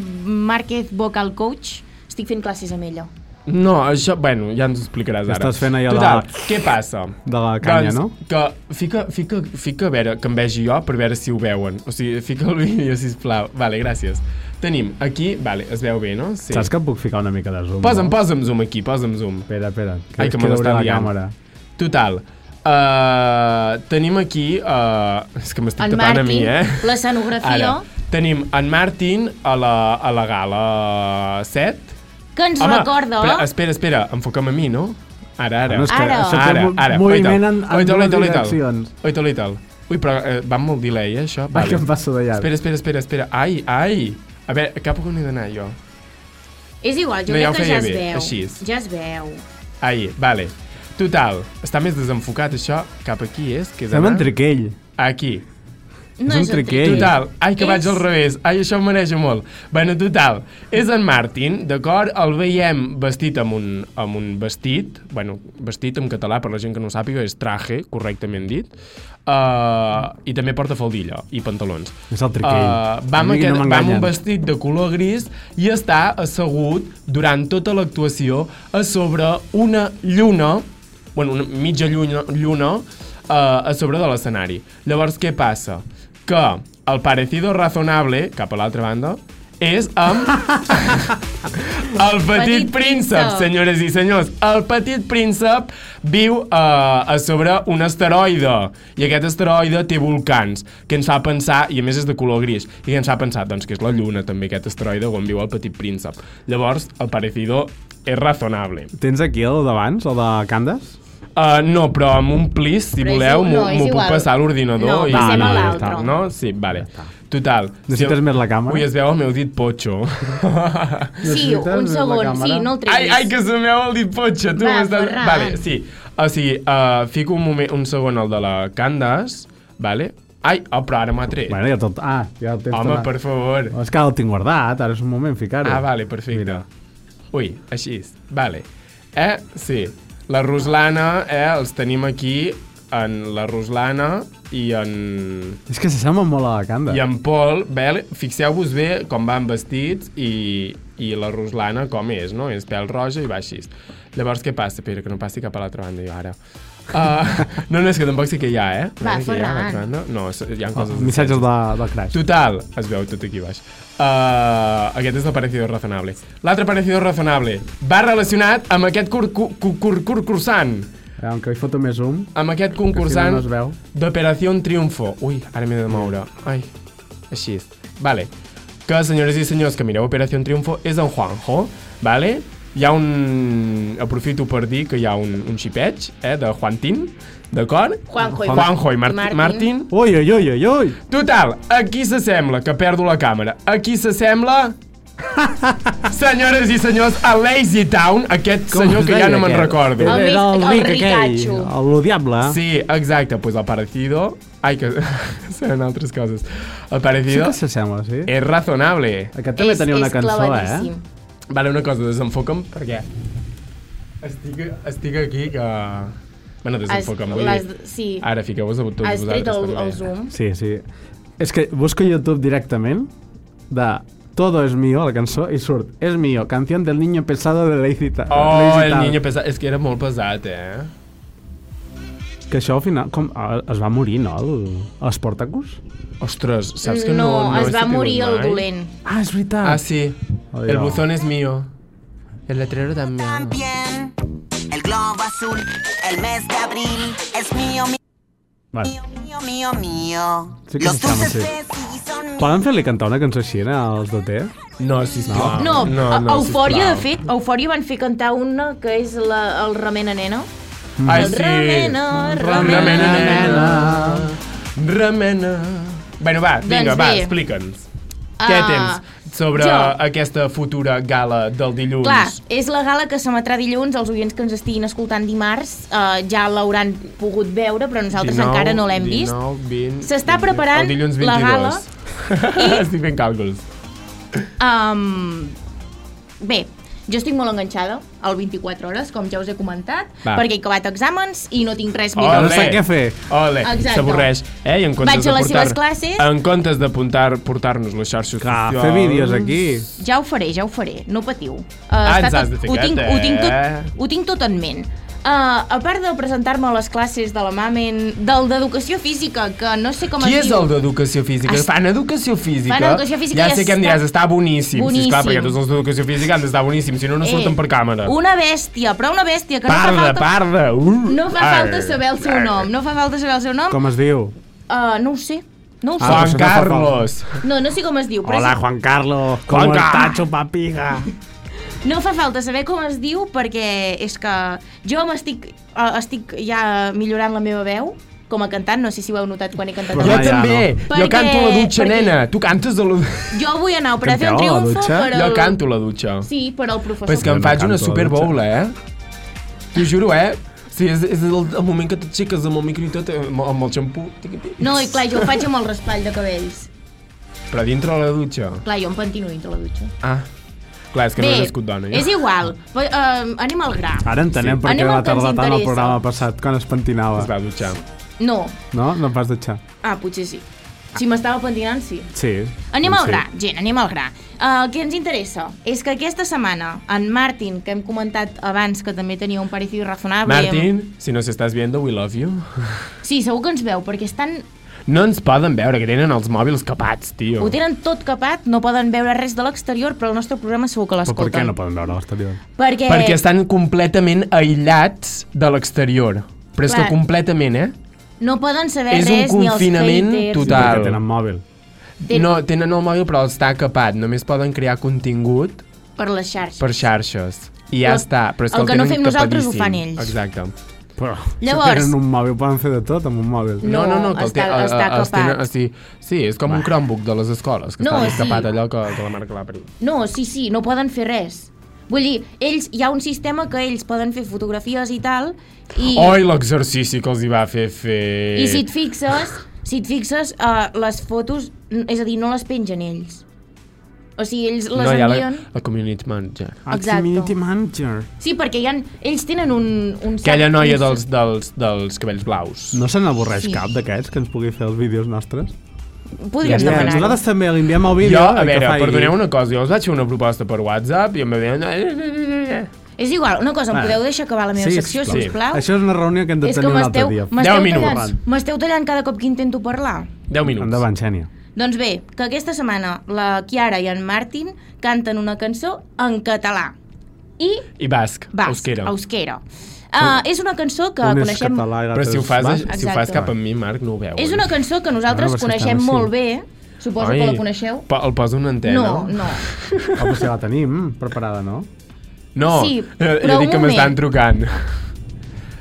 C: Márquez Vocal Coach estic fent classes amb ella.
B: No, això, bueno, ja ens ho explicaràs ara.
A: Estàs fent allò
B: Total,
A: de-
B: què passa? Doncs
A: de la canya, no?
B: Que fica, fica, fica a veure, que em vegi jo per veure si ho veuen. O sigui, fica el vídeo, sisplau. Vale, gràcies. Tenim aquí, vale, es veu bé, no? Sí.
A: Saps que puc ficar una mica de zoom? no?
B: Posa'm, posa'm zoom aquí, posa'm zoom.
A: Espera, espera.
B: Ai, que me
A: veuré
B: l'està
A: la
B: liant.
A: càmera.
B: Total, uh, tenim aquí... Uh, és que m'estic
C: En
B: tapant a mi,
C: Martin,
B: eh?
C: l'escenografia,
B: tenim en Martin a la, a la gala 7,
C: que ens recorda...
B: Però, espera, espera, enfoca'm a mi, no? Ara, ara.
A: No, és que
C: Ara.
A: això té
B: ara,
A: mo-
B: ara.
A: moviment en- en
B: oito,
A: dues
B: oito, oito.
A: direccions.
B: Oito, oito. Ui, però eh, va amb molt delay, eh, això.
A: Ai, que em passo de llarg.
B: Espera, espera, espera, espera. Ai, ai. A veure, cap on he d'anar jo?
C: És igual, jo
B: No, ja ho
C: crec que ja
B: feia
C: es
B: bé,
C: veu.
B: així és.
C: Ja es veu.
B: Ai, vale. Total, està més desenfocat això. Cap aquí és, que he
A: Fem
B: d'anar...
A: en triquell.
B: Aquí.
C: No
A: un
C: és el
A: triquell.
C: triquell.
B: Total, ai, que vaig
C: És-
B: al revés, ai, això em mareja molt. Bueno, total, és en Martin, d'acord? El veiem vestit amb un, amb un vestit, bueno, vestit en català, per la gent que no ho sàpiga, és traje, correctament dit, uh, i també porta faldilla i pantalons.
A: És el triquell.
B: Uh, va,
A: A
B: amb
A: mi
B: aquest,
A: no
B: va amb
A: m'enganyen.
B: un vestit de color gris i està assegut durant tota l'actuació a sobre una lluna, bueno, una mitja lluna, lluna eh, a sobre de l'escenari. Llavors, què passa? Que el parecido razonable, cap a l'altra banda, és [LAUGHS] amb el petit,
C: Petit
B: príncep,
C: príncep.
B: senyores i senyors. El petit príncep viu eh, a sobre un asteroide i aquest asteroide té volcans que ens fa pensar, i a més és de color gris, i que ens fa pensar doncs, que és la lluna també aquest asteroide on viu el petit príncep. Llavors, el parecido és razonable.
A: Tens aquí el d'abans, el de Candes?
B: Uh, no, però amb un plis, si
C: Però és
B: voleu,
C: i-
B: m'ho
C: no, és
B: m'ho puc
C: igual.
B: passar a l'ordinador.
C: No,
B: i-
A: passem a
B: ja
A: l'altre.
B: està, No? Sí, vale. Total.
A: Necessites
B: si-
A: més la càmera?
B: Ui, es veu el meu dit
A: [LAUGHS]
B: potxo.
C: Sí,
A: Necessites
C: un
A: la
C: segon,
A: càmera?
C: sí, no el
B: Ai,
C: treguis.
B: ai, que se m'heu el dit potxa, tu
C: Va,
B: m'estàs...
C: Ferran.
B: Vale, sí. O sigui, uh, fico un, moment, un segon al de la Candes, vale? Ai, oh, però ara m'ha tret.
A: Bueno, ja tot... Ah, ja el tens
B: Home,
A: tot-
B: per favor.
A: És que ara el tinc guardat, ara és un moment ficar-ho.
B: Ah, vale, perfecte. Ui, així. és. Vale. Eh, sí. La Ruslana, eh, els tenim aquí en la Ruslana i en...
A: És que s'assembla molt a la Canda.
B: I en Pol, bé, fixeu-vos bé com van vestits i, i la Ruslana com és, no? És pèl roja i va així. Llavors, què passa? Espera, que no passi cap a l'altra banda jo ara. Uh, [LAUGHS] no, no, és que tampoc sí que hi ha, eh?
C: Va,
B: Ara que hi ha a l'altra
C: Ferran.
B: banda. No, és- hi ha
A: Oh,
B: coses...
A: missatges de, de Crash.
B: Total, es veu tot aquí baix. Uh, aquest és el parecido razonable. L'altre parecido razonable va relacionat amb aquest cur, cur, cur, cur, concursant.
A: Eh, Aunque hi foto més zoom.
B: Amb aquest
A: si no, no
B: concursant
A: es veu.
B: d'Operació Triunfo. Ui, ara m'he de moure. Ai, així és. Vale. que, senyores i senyors, que mireu Operació Triunfo és en Juanjo, vale? Hi ha un... Aprofito per dir que hi ha un, un xipeig, eh, de Juantín, d'acord?
C: Juanjo i Mar-
B: Juanjo i Mar
C: Martín.
B: Martín. Martín.
A: Ui, ui, ui, ui, ui.
B: Total, aquí s'assembla, que perdo la càmera, aquí
A: [LAUGHS]
B: s'assembla... Senyores i senyors, a Lazy Town, aquest
A: Com
B: senyor
A: es
B: que ja
A: deia
B: no me'n
A: aquest?
B: recordo.
C: El més- el ricatxo.
A: El, el diable.
B: Sí, exacte, pues el parecido... Ai, que [LAUGHS] seran altres coses. El
A: sí
B: parecido
A: que s'assembla, sí.
B: és razonable.
A: Aquest també
C: És-
A: tenia una
C: és
A: cançó, eh?
C: clavadíssim.
B: Vale, una cosa, desenfoca'm, perquè estic, estic aquí que... Bueno,
C: Has-
B: desenfoca'm, vull
C: l'has-
B: dir...
C: Sí,
B: Ara, fiqueu-vos a tots Ah,
C: has
B: vosaltres.
C: tret el,
B: també.
C: el zoom.
A: Sí, sí. És que busco a YouTube directament de Todo es mío, la cançó, i surt Es mío, canción del niño pesado de Lazy Ta-
B: Oh,
A: Lazy
B: el
A: Town.
B: niño pesat. És que era molt pesat, eh?
A: Que això al final... Com, ah, es va morir, no? El, els Portacus?
B: Ostres, saps que no...
C: no,
B: he
C: es va
B: sentit
C: morir el
B: mai?
C: dolent.
A: Ah, és veritat.
B: Ah, sí.
A: Oh,
B: el
A: no.
B: buzón es mío. El letrero también.
G: También el globo azul, el mes de abril es mío, mío,
A: Vale.
G: mío, mío, mío.
A: Sí que
G: Los
A: s'està,
G: dulces
A: sí.
G: de sí son míos.
A: Poden fer-li cantar una cançó així eh, als de Ter?
B: No, sisplau.
C: No, no, no
B: sisplau.
C: Eufòria, de fet, a Eufòria van fer cantar una que és la, el Remena Nena.
B: Ai,
C: el
B: sí.
C: Remena, Remena,
B: Remena,
C: Nena.
B: nena. Remena. Bueno, va, vinga,
C: Doncs
B: va,
C: bé. Ah,
B: explica'ns. Què tens sobre
C: jo.
B: aquesta futura gala del dilluns?
C: Clar, és la gala que s'emetrà dilluns, els oients que ens estiguin escoltant dimarts eh, ja l'hauran pogut veure, però nosaltres
B: 19,
C: encara no l'hem vist.
B: 19, 20,
C: S'està
B: 21,
C: preparant
B: el dilluns
C: la
B: 22.
C: gala i-
B: [LAUGHS] Estic fent càlculs.
C: Um, bé, jo estic molt enganxada al 24 hores, com ja us he comentat,
B: Va. Oh,
C: perquè he acabat exàmens i no tinc res
A: Que
C: millor.
A: no sap què fer.
B: Ole,
C: Exacte.
B: s'avorreix. Eh? I en comptes
C: Vaig
B: de
C: a les
B: portar,
C: seves classes.
B: En comptes de portar- portar-nos les xarxes
A: Clar,
B: socials...
A: fer vídeos aquí.
C: Ja ho faré, ja ho faré, no patiu. Uh,
B: Ah, ens has de
C: ho,
B: ficar,
C: tinc,
B: eh?
C: ho, tinc tot, ho tinc tot en ment. Uh, a part de presentar-me a les classes de la Mamen, del d'educació física, que no sé com
B: Qui
C: es
B: és
C: diu.
B: el d'educació física?
C: Es-
B: Fan educació física?
C: Fan educació física
B: Ja
C: i
B: sé que em
C: està-
B: diràs, està boníssim. boníssim. Sí,
C: Boníssim.
B: esclar, perquè tots els d'educació física han d'estar boníssims, si no, no
C: Eh,
B: surten per càmera.
C: Una bèstia, però una bèstia que no fa
B: Parda,
C: falta...
B: parda. Uh,
C: No fa
B: Arr,
C: falta saber el seu
A: Ah,
B: arr.
C: nom, no fa falta saber el seu nom.
A: Com es diu?
C: Uh, no ho sé, no ho sé.
A: Ah,
B: Juan
A: doncs no fa falta.
B: Carlos.
C: No, no sé com es diu, però és,
A: Juan Carlos.
B: Juan Carlos.
A: chupapiga?
C: No fa falta saber com es diu perquè és que jo m'estic eh, estic ja millorant la meva veu com a cantant, no sé si ho heu notat quan he cantat.
A: Però ah,
B: Jo
A: ja
C: abans.
B: també.
C: no.
B: Jo canto la
C: Perquè-
B: dutxa,
C: perquè-
B: nena. Tu cantes a la... Eh?
C: Jo vull anar a Operació
A: Canteu a la
C: Triunfo
A: dutxa?
C: per al...
B: Jo canto a la dutxa.
C: Sí, per al professor.
B: Però és que
A: Jo
B: em
A: no
B: faig
A: canto
B: una
A: a la
B: super
A: dutxa.
B: bowl, eh? T'ho juro, eh? Sí, és, és el, el moment que t'aixeques amb el micro i tot, eh, amb, amb el xampú.
C: No, i clar, jo ho faig amb el raspall de cabells.
B: Però dintre la dutxa.
C: Clar, jo em pentino dintre la dutxa.
B: Ah. Clar, és que no he nascut dona.
C: és igual. Però, eh, anem al gra.
A: Ara entenem
B: Sí.
A: sí. per què
C: Anem al
A: va
C: que ens
A: tardar tant el
C: interessa.
A: programa passat, quan es pentinava.
B: Es va dutxar.
C: No.
A: No? No em vas deixar.
C: Ah, potser sí. Si m'estava pentinant, sí.
A: Sí.
C: Anem
A: Sí.
C: al gra, gent, anem al gra. Uh, el que ens interessa és que aquesta setmana en Martin, que hem comentat abans que també tenia un parecido razonable...
B: Martín, si nos estàs viendo, we love you. [LAUGHS]
C: Sí, segur que ens veu, perquè estan,
B: No ens poden veure, que tenen els mòbils capats, tio.
C: ho tenen tot capat, no poden veure res de l'exterior, però el nostre programa segur que
A: Però per què
C: l'escolten.
A: no poden veure l'exterior?
C: Perquè,
B: Perquè estan completament aïllats de l'exterior. Però és
C: Clar.
B: que completament, eh?
C: no poden saber
B: és un
C: res
B: confinament
C: ni els haters.
A: Sí,
B: Total.
A: perquè tenen mòbil.
C: Ten-
B: No, tenen el mòbil però està capat. Només poden crear contingut
C: Per les xarxes.
B: per xarxes. I ja
C: Però
B: està. Però és que
C: el
B: el,
C: que no
B: tenen
C: fem nosaltres ho
B: tapadíssim.
C: fan ells.
B: Exacte.
A: Però
C: Llavors-
A: si
C: Mm,
A: tenen un mòbil, poden fer de tot amb un mòbil.
C: No,
B: No, no, no, que el
C: està-
B: te- a- a-
C: està
B: els tenen,
C: capat.
B: o sigui, sí, és com un Chromebook de les escoles, que
C: No,
B: està
C: sí.
B: escapat allò que, que la marca l'Apple.
C: No, sí, sí, no poden fer res. Vull dir, ells, hi ha un sistema que ells poden fer fotografies i tal, i...
B: Oi, l'exercici que els hi va fer fer...
C: I si et fixes, si et fixes, uh, les fotos, n- és a dir, no les pengen ells. O sigui, ells les
B: no, hi ha la,
C: envien...
B: la community manager.
C: Exacte.
A: Community Manager.
C: Sí, perquè hi ha... ells tenen un... un sac-
B: Aquella noia
C: un-
B: dels, dels, dels cabells blaus.
A: No se n'avorreix
C: Sí.
A: sí. cap d'aquests que ens pugui fer els vídeos nostres?
C: Podríem
A: Mira,
C: demanar
A: nosaltres també li enviem el vídeo.
B: Jo, a
A: i que
B: veure,
A: faci-
B: perdoneu una cosa, jo els vaig fer una proposta per WhatsApp i em va eh, dir...
C: És igual, una cosa, em
B: Ah.
A: Vale.
C: podeu deixar acabar la meva
A: Sí,
C: secció,
A: sisplau.
C: sisplau?
A: Això és una reunió que hem de
C: és
A: tenir
C: que
A: un altre
C: m'esteu
A: dia.
C: m'esteu
B: Deu
C: tallant,
B: minuts.
C: m'esteu tallant cada cop que intento parlar.
B: 10 minuts.
A: Endavant, Xènia.
C: Doncs bé, que aquesta setmana la Kiara i en Martin canten una cançó en català. I
B: I basc,
C: basc,
B: euskera.
C: euskera. Uh, és una cançó que
A: un és
C: coneixem...
A: català i
B: Però
A: l'altre
B: si ho
A: és
B: fas,
A: basc.
B: si ho
C: Exacte.
B: fas cap a mi, Marc, no ho veus.
C: És una cançó que nosaltres
A: Ara vas
C: coneixem
A: cantant, sí.
C: molt bé eh?
H: Suposo que la coneixeu.
B: Pa, el posa una antena.
H: No,
B: [LAUGHS]
H: no.
A: O potser la tenim preparada, no?
B: No,
H: Sí,
B: jo,
H: però
B: jo dic
H: un
B: que
H: moment.
B: m'estan trucant.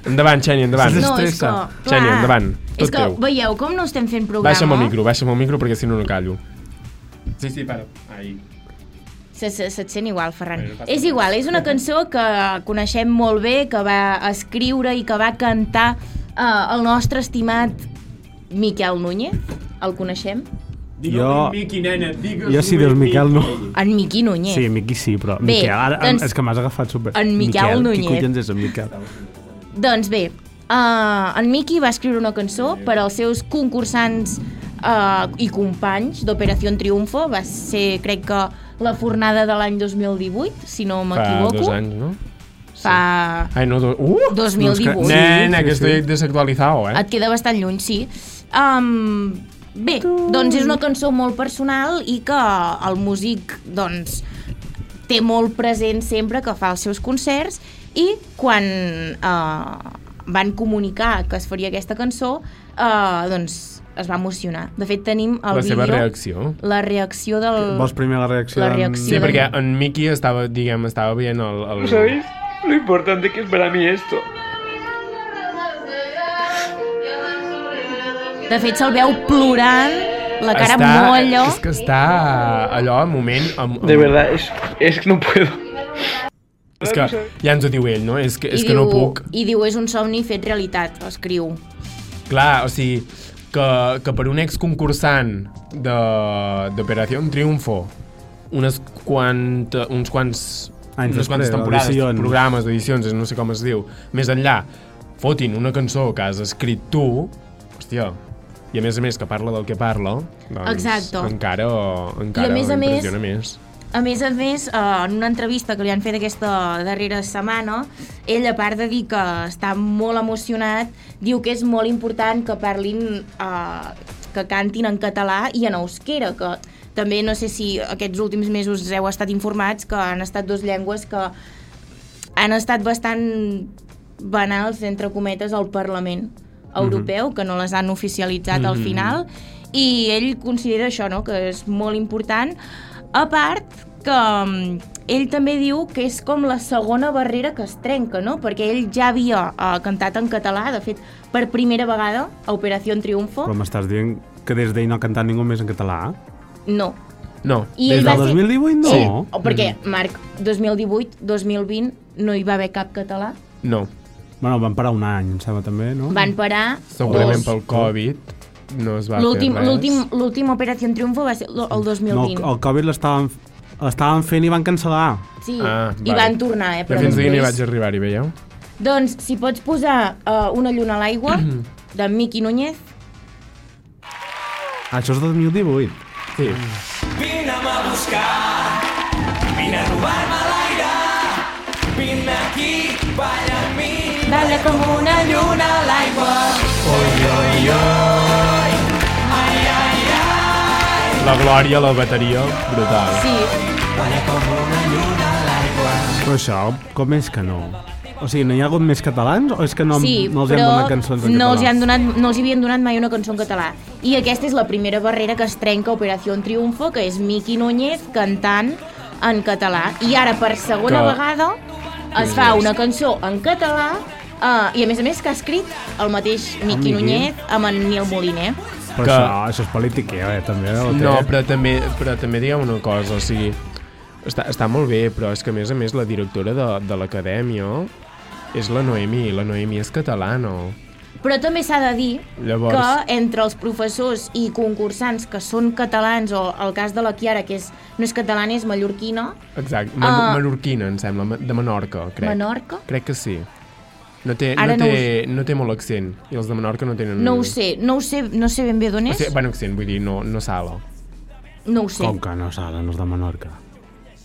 B: Endavant, Xènia, endavant.
H: No, és que...
A: Estressa.
C: Clar.
B: Xènia, endavant. Tot
C: és que
B: teu.
C: veieu com no estem fent programa?
B: Baixa'm el micro, baixa'm el micro perquè si no no callo. Sí, sí, para. Ahí.
C: Se, se, se't sent igual, Ferran.
B: Bueno, no passa
C: és igual, és una cançó que coneixem molt bé, que va escriure i que va cantar eh, el nostre estimat Miquel Núñez. El coneixem?
A: Jo-
B: Miqui, nena, digues
A: Jo sí, dius Miquel, no.
C: En Miqui Núñez.
A: Sí, Miqui sí, però
C: Bé,
A: Miquel, ara,
C: doncs-
A: és que m'has agafat super...
C: En Miquel Núñez.
A: Qui collons és en Miquel?
C: Doncs bé, uh, en Miki va escriure una cançó per als seus concursants uh, i companys d'Operació Triunfo. Va ser, crec que, la fornada de l'any 2018, si no
B: Fa
C: m'equivoco.
B: dos anys, no?
C: Fa
B: Ai, no, dos... Uh!
C: 2018.
A: Sí,
B: Nena,
A: sí,
B: que
A: sí.
B: estoy desactualizado, eh?
C: Et queda bastant lluny, sí. Um, bé, doncs és una cançó molt personal i que el músic, doncs, té molt present sempre que fa els seus concerts i quan uh, van comunicar que es faria aquesta cançó, uh, doncs es va emocionar. De fet, tenim el
B: La
C: vídeo...
B: seva reacció.
C: La reacció del...
A: Vols primer la reacció?
C: Oh. La
A: d'en-
C: reacció
B: Sí,
C: de-
B: perquè en Mickey estava, diguem, estava veient el... el...
I: ¿Sabéis lo importante que es para mí esto?
C: De fet, se'l veu plorant, la cara
B: està,
C: molt allò...
B: És que està allò, al moment... Amb, amb,
I: De verdad, es, es que no puedo.
B: És que ja ens ho diu ell, no? És que, és
C: i
B: que no
C: diu,
B: puc.
C: I diu, és un somni fet realitat, escriu.
B: Clar, o sigui, que, que per un exconcursant de- d'Operació Triunfo unes quanta, uns quants
A: Anys
B: unes
A: després,
B: quantes temporades,
A: edicions.
B: programes, edicions, no sé com es diu, més enllà, fotin una cançó que has escrit tu, hòstia, i a més a més que parla del que parla, doncs
C: Exacte.
B: encara, encara
C: I a més a més-
B: impressiona més.
C: A més a més, eh, en una entrevista que li han fet aquesta darrera setmana, ell, a part de dir que està molt emocionat, diu que és molt important que parlin, eh, que cantin en català i en euskera, que també no sé si aquests últims mesos heu estat informats que han estat dues llengües que han estat bastant banals, entre cometes, al Parlament
A: Mhm.
C: Europeu, que no les han oficialitzat al final, i ell considera això, no?, que és molt important. A part, que mm, ell també diu que és com la segona barrera que es trenca, no?, perquè ell ja havia eh, cantat en català, de fet, per primera vegada, a Operació Triunfo,
A: Però m'estàs dient que des d'ahir no ha cantat ningú més en català?
C: no.
B: No,
C: I
A: Des
C: ell va
A: del
C: ser-
A: 2018 no? Mm.
C: Sí, o perquè, Marc, 2018, 2020, no hi va haver cap català.
B: no.
A: Bueno, van parar un any, em sembla, també, no?
C: Van parar
B: Segurament
A: Oh.
C: dos.
B: pel Covid no es va
C: L'últim,
B: fer res.
C: l'últim, l'última Operació Triunfo va ser el el 2020.
A: No, el, el Covid l'estaven l'estaven fent i van cancel·lar.
C: Sí,
B: Ah,
C: i
B: vale.
C: van tornar, eh?
B: Jo
C: Però
B: fins aquí no hi
C: després...
B: vaig arribar-hi, veieu?
C: Doncs, si pots posar uh, una lluna a l'aigua,
B: [CLEARS THROAT]
C: de Miqui Núñez,
A: Això és 2018.
B: Sí.
C: Balla com una lluna a l'aigua.
B: La glòria, la bateria, brutal.
C: Sí,
A: Però això, com és que no? O sigui, no hi ha hagut més catalans o és que no,
C: sí,
A: no els
C: però
A: han donat cançons en
C: no,
A: català?
C: els hi han donat, no els hi havien donat mai una cançó en català. I aquesta és la primera barrera que es trenca a Operació Triunfo, que és Miqui Núñez cantant en català. I ara, per segona
B: Que-
C: vegada, es fa una cançó en català uh, i, a més a més, que ha escrit el mateix Miqui
A: Ah, Miqui.
C: Núñez amb en Nil Moliner.
A: Però
B: Que-
A: això, això és polític, eh, també. ho té.
B: No, però també, però també digueu una cosa, o sigui, està, està molt bé, però és que a més a més la directora de, de l'acadèmia és la Noemi, i la Noemi és catalana.
C: Però també s'ha de dir
B: Llavors-
C: que entre els professors i concursants que són catalans, o el cas de la Chiara, que és, no és catalana, és mallorquina,
B: Exacte, uh,
C: Ah.
B: menorquina, em sembla, ma- de Menorca, crec.
C: Menorca?
B: Crec que sí. No té,
C: Ara
B: no,
C: no
B: té, no, té molt accent, i els de Menorca no tenen...
C: no ho sé, no ho sé, no sé ben bé d'on
B: Mm. O
C: és,
B: sigui, bueno, accent, vull dir, no, no sala.
C: no ho sé.
A: Com que no saben els de Menorca?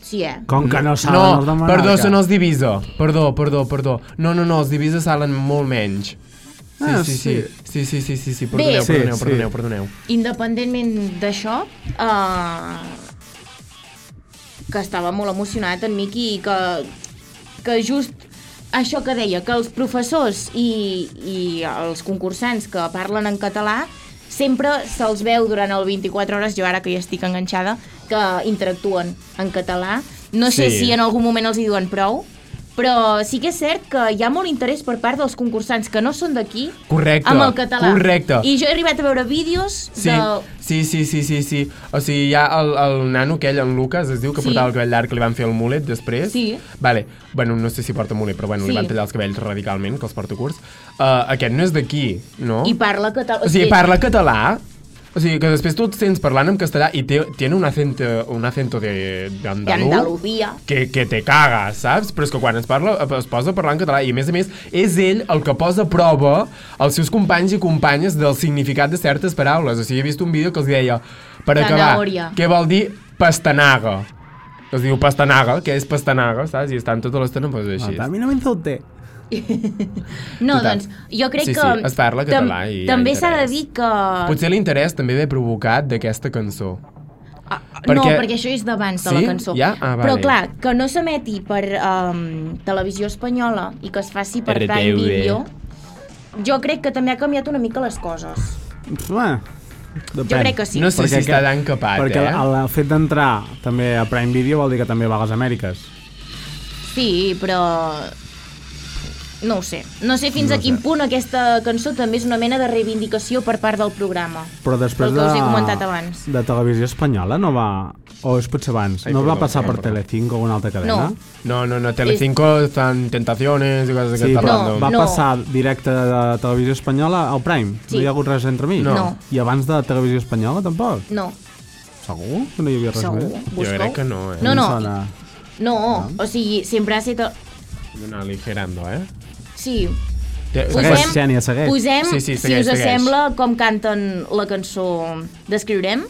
C: Sí, eh?
A: Com que no saben els de
B: No,
A: Menorca?
B: perdó, són els divisa. Perdó, perdó, perdó. No, no, no, els divisa salen molt menys. Sí,
A: Ah,
B: sí, sí. Sí, sí, sí, sí, sí.
C: Bé.
B: Perdoneu,
A: Sí,
B: perdoneu,
A: sí.
B: perdoneu, perdoneu.
C: Independentment d'això, eh, que estava molt emocionat en Miqui i que, que just això que deia, que els professors i, i els concursants que parlen en català sempre se'ls veu durant el 24 hores, jo ara que hi estic enganxada, que interactuen en català. No sé
B: Sí.
C: sí. si en algun moment els hi diuen prou, però sí que és cert que hi ha molt interès per part dels concursants que no són d'aquí
B: Correcte,
C: amb el català.
B: correcte.
C: I jo he arribat a veure vídeos
B: Sí,
C: de...
B: sí, sí, sí, sí, sí. O sigui, hi ha el, el nano aquell, en Lucas, es diu, que
C: Sí.
B: sí. portava el cabell llarg, que li van fer el mulet després.
C: Sí.
B: Vale, bueno, no sé si porta mulet, però bueno,
C: Sí.
B: li van tallar els cabells radicalment, que els porta curts. Uh, aquest no és d'aquí, no?
C: I parla català.
B: O sigui, parla català, o sigui, que després tu et sents parlant en castellà i té, tiene un acento, un acento de, de
C: De Andalucía.
B: que, que te caga, saps? Però és que quan es, parla, es posa a parlar en català i a més a més és ell el que posa a prova els seus companys i companyes del significat de certes paraules. O sigui, he vist un vídeo que els deia per acabar,
C: Zanahòria.
B: què vol dir pastanaga? Es diu pastanaga, que és pastanaga, saps? I estan tota l'estona pues, així.
A: A mi no m'insulte.
C: No,
B: Total.
C: doncs, jo crec
B: Sí, sí,
C: que...
B: es parla
C: tam-
B: català i hi ha
C: També s'ha de
B: interès.
C: dir que...
B: Potser l'interès també ve provocat d'aquesta cançó.
C: Ah,
B: Perquè-
C: No, perquè això és d'abans de la
B: Sí?
C: cançó.
B: Ja? Ah,
C: Però
B: vale.
C: clar, que no s'emeti per um, televisió espanyola i que es faci per
B: RTV.
C: Prime Video, jo crec que també ha canviat una mica les coses.
A: Bueno,
C: Jo crec que sí.
B: No sé si està tan capat,
A: perquè
B: eh?
A: el, el fet d'entrar també a Prime Video vol dir que també va a les Amèriques.
C: Sí, però... No ho sé. No sé fins no a quin sé. punt aquesta cançó també és una mena de reivindicació per part del programa.
A: Però després
C: Pel que
A: de...
C: us he comentat abans.
A: De televisió espanyola no va... O és potser abans.
B: Ai,
A: no
B: perdó,
A: va passar
B: perdó,
A: per
B: perdó.
A: Telecinco o una altra cadena?
C: No.
B: No, no, no, Telecinco fan tentaciones i coses
A: Sí,
B: d'aquesta
A: però
B: random.
A: va
C: No.
A: passar directe de televisió espanyola al Prime.
C: Sí.
A: No hi ha hagut res entre mi.
B: No.
C: No.
A: I abans de televisió espanyola tampoc.
C: No,
A: Segur que no hi havia res
C: segur.
A: més?
B: Jo
C: Busqueu.
B: crec que no, eh?
C: No, no,
A: Em sona.
C: no, o sigui, sempre ha estat...
B: Una aligerando, eh?
C: Sí,
B: Té-
A: Segueix,
C: Posem-
A: Xènia, segueix.
C: Posem,
B: Sí,
C: sí,
B: sí,
C: sí,
B: segueix,
C: si us
B: segueix.
C: sembla, com canten la cançó Descriurem.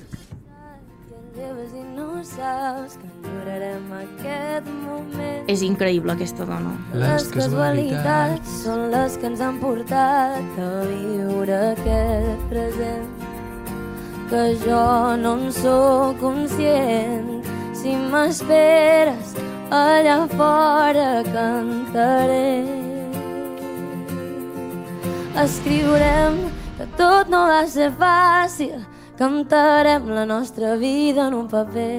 C: És increïble, aquesta dona.
B: Les casualitats
H: són les que ens han portat a viure aquest present que jo no en sóc conscient si m'esperes allà fora cantaré escriurem que tot no va ser fàcil cantarem la nostra vida en un paper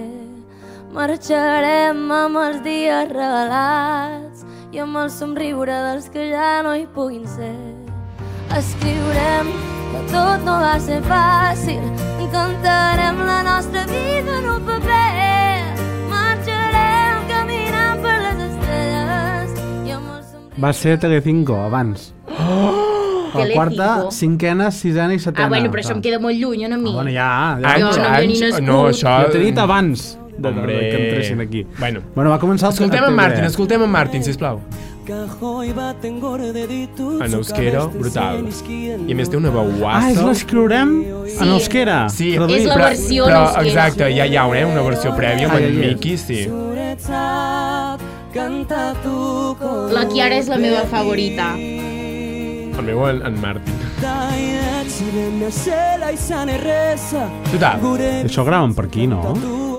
H: marxarem amb els dies regalats i amb el somriure dels que ja no hi puguin ser escriurem que tot no va ser fàcil cantarem la nostra vida en un paper marxarem caminant per les estrelles i amb el somriure
A: Va ser Telecinco,
C: [GASPS]
A: abans. Oh! La
C: Telecinco.
A: quarta, cinquena, sisena i setena.
C: Ah, bueno, però això em queda molt lluny, no a mi?
A: Ah, bueno, ja, ja.
B: Anys,
C: Jo no havia ni
B: anys...
C: nascut.
B: No, això...
A: Jo t'he dit abans de, de,
B: Hombre.
A: que entressin aquí.
B: Bueno.
A: bueno va començar... el-
B: Escoltem
A: el
B: en Martin,
A: TV3.
B: escoltem en Martin, sisplau. En euskera, brutal. I a més té una veuassa.
A: Ah, és l'escriurem en euskera.
B: Sí,
A: traduït.
C: És la
B: però,
C: versió en
B: però,
C: euskera.
B: Exacte, ja hi ha una, eh, una versió prèvia amb
A: Ah,
B: en
A: ja hi és.
B: Miki, sí.
C: La Kiara és la meva favorita.
B: El meu en, en Martin. Total,
A: Això graven per aquí, no?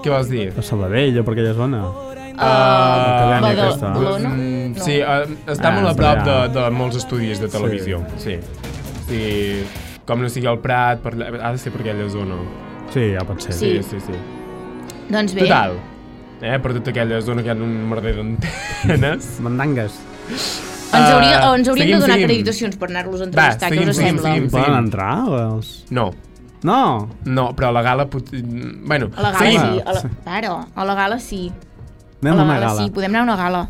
B: què vols dir?
A: A Sabadell o per aquella zona.
B: Ah,
C: Uh,
A: Catalana, aquesta.
C: Badalona?
B: Mm,
C: No.
B: sí, eh, està
A: Ah,
B: molt
A: està
B: a prop de,
A: allà.
B: de molts estudis de televisió. Sí. sí. sí. Com no sigui el Prat, per, allà- ha de ser per aquella zona.
A: Sí, ja pot ser.
C: Sí. Eh?
B: sí, sí. sí.
C: Doncs bé,
B: Total. Eh, per tota aquella zona que hi ha un merder d'antenes.
A: Mandangues.
C: ens, hauria,
B: Ah,
C: ens hauríem
B: seguim,
C: de donar
B: seguim.
C: acreditacions per anar-los a entrevistar, què
B: seguim,
C: us
B: seguim,
C: sembla?
B: seguim.
A: Poden entrar? o Els...
B: No,
A: No!
B: no, però a la gala... Pot... mm, Bueno,
C: A la gala
B: seguim.
C: sí, a la... Claro, a la gala sí.
A: Anem
C: a
A: a
C: la
A: una
C: gala,
A: gala.
C: sí, podem anar a una gala.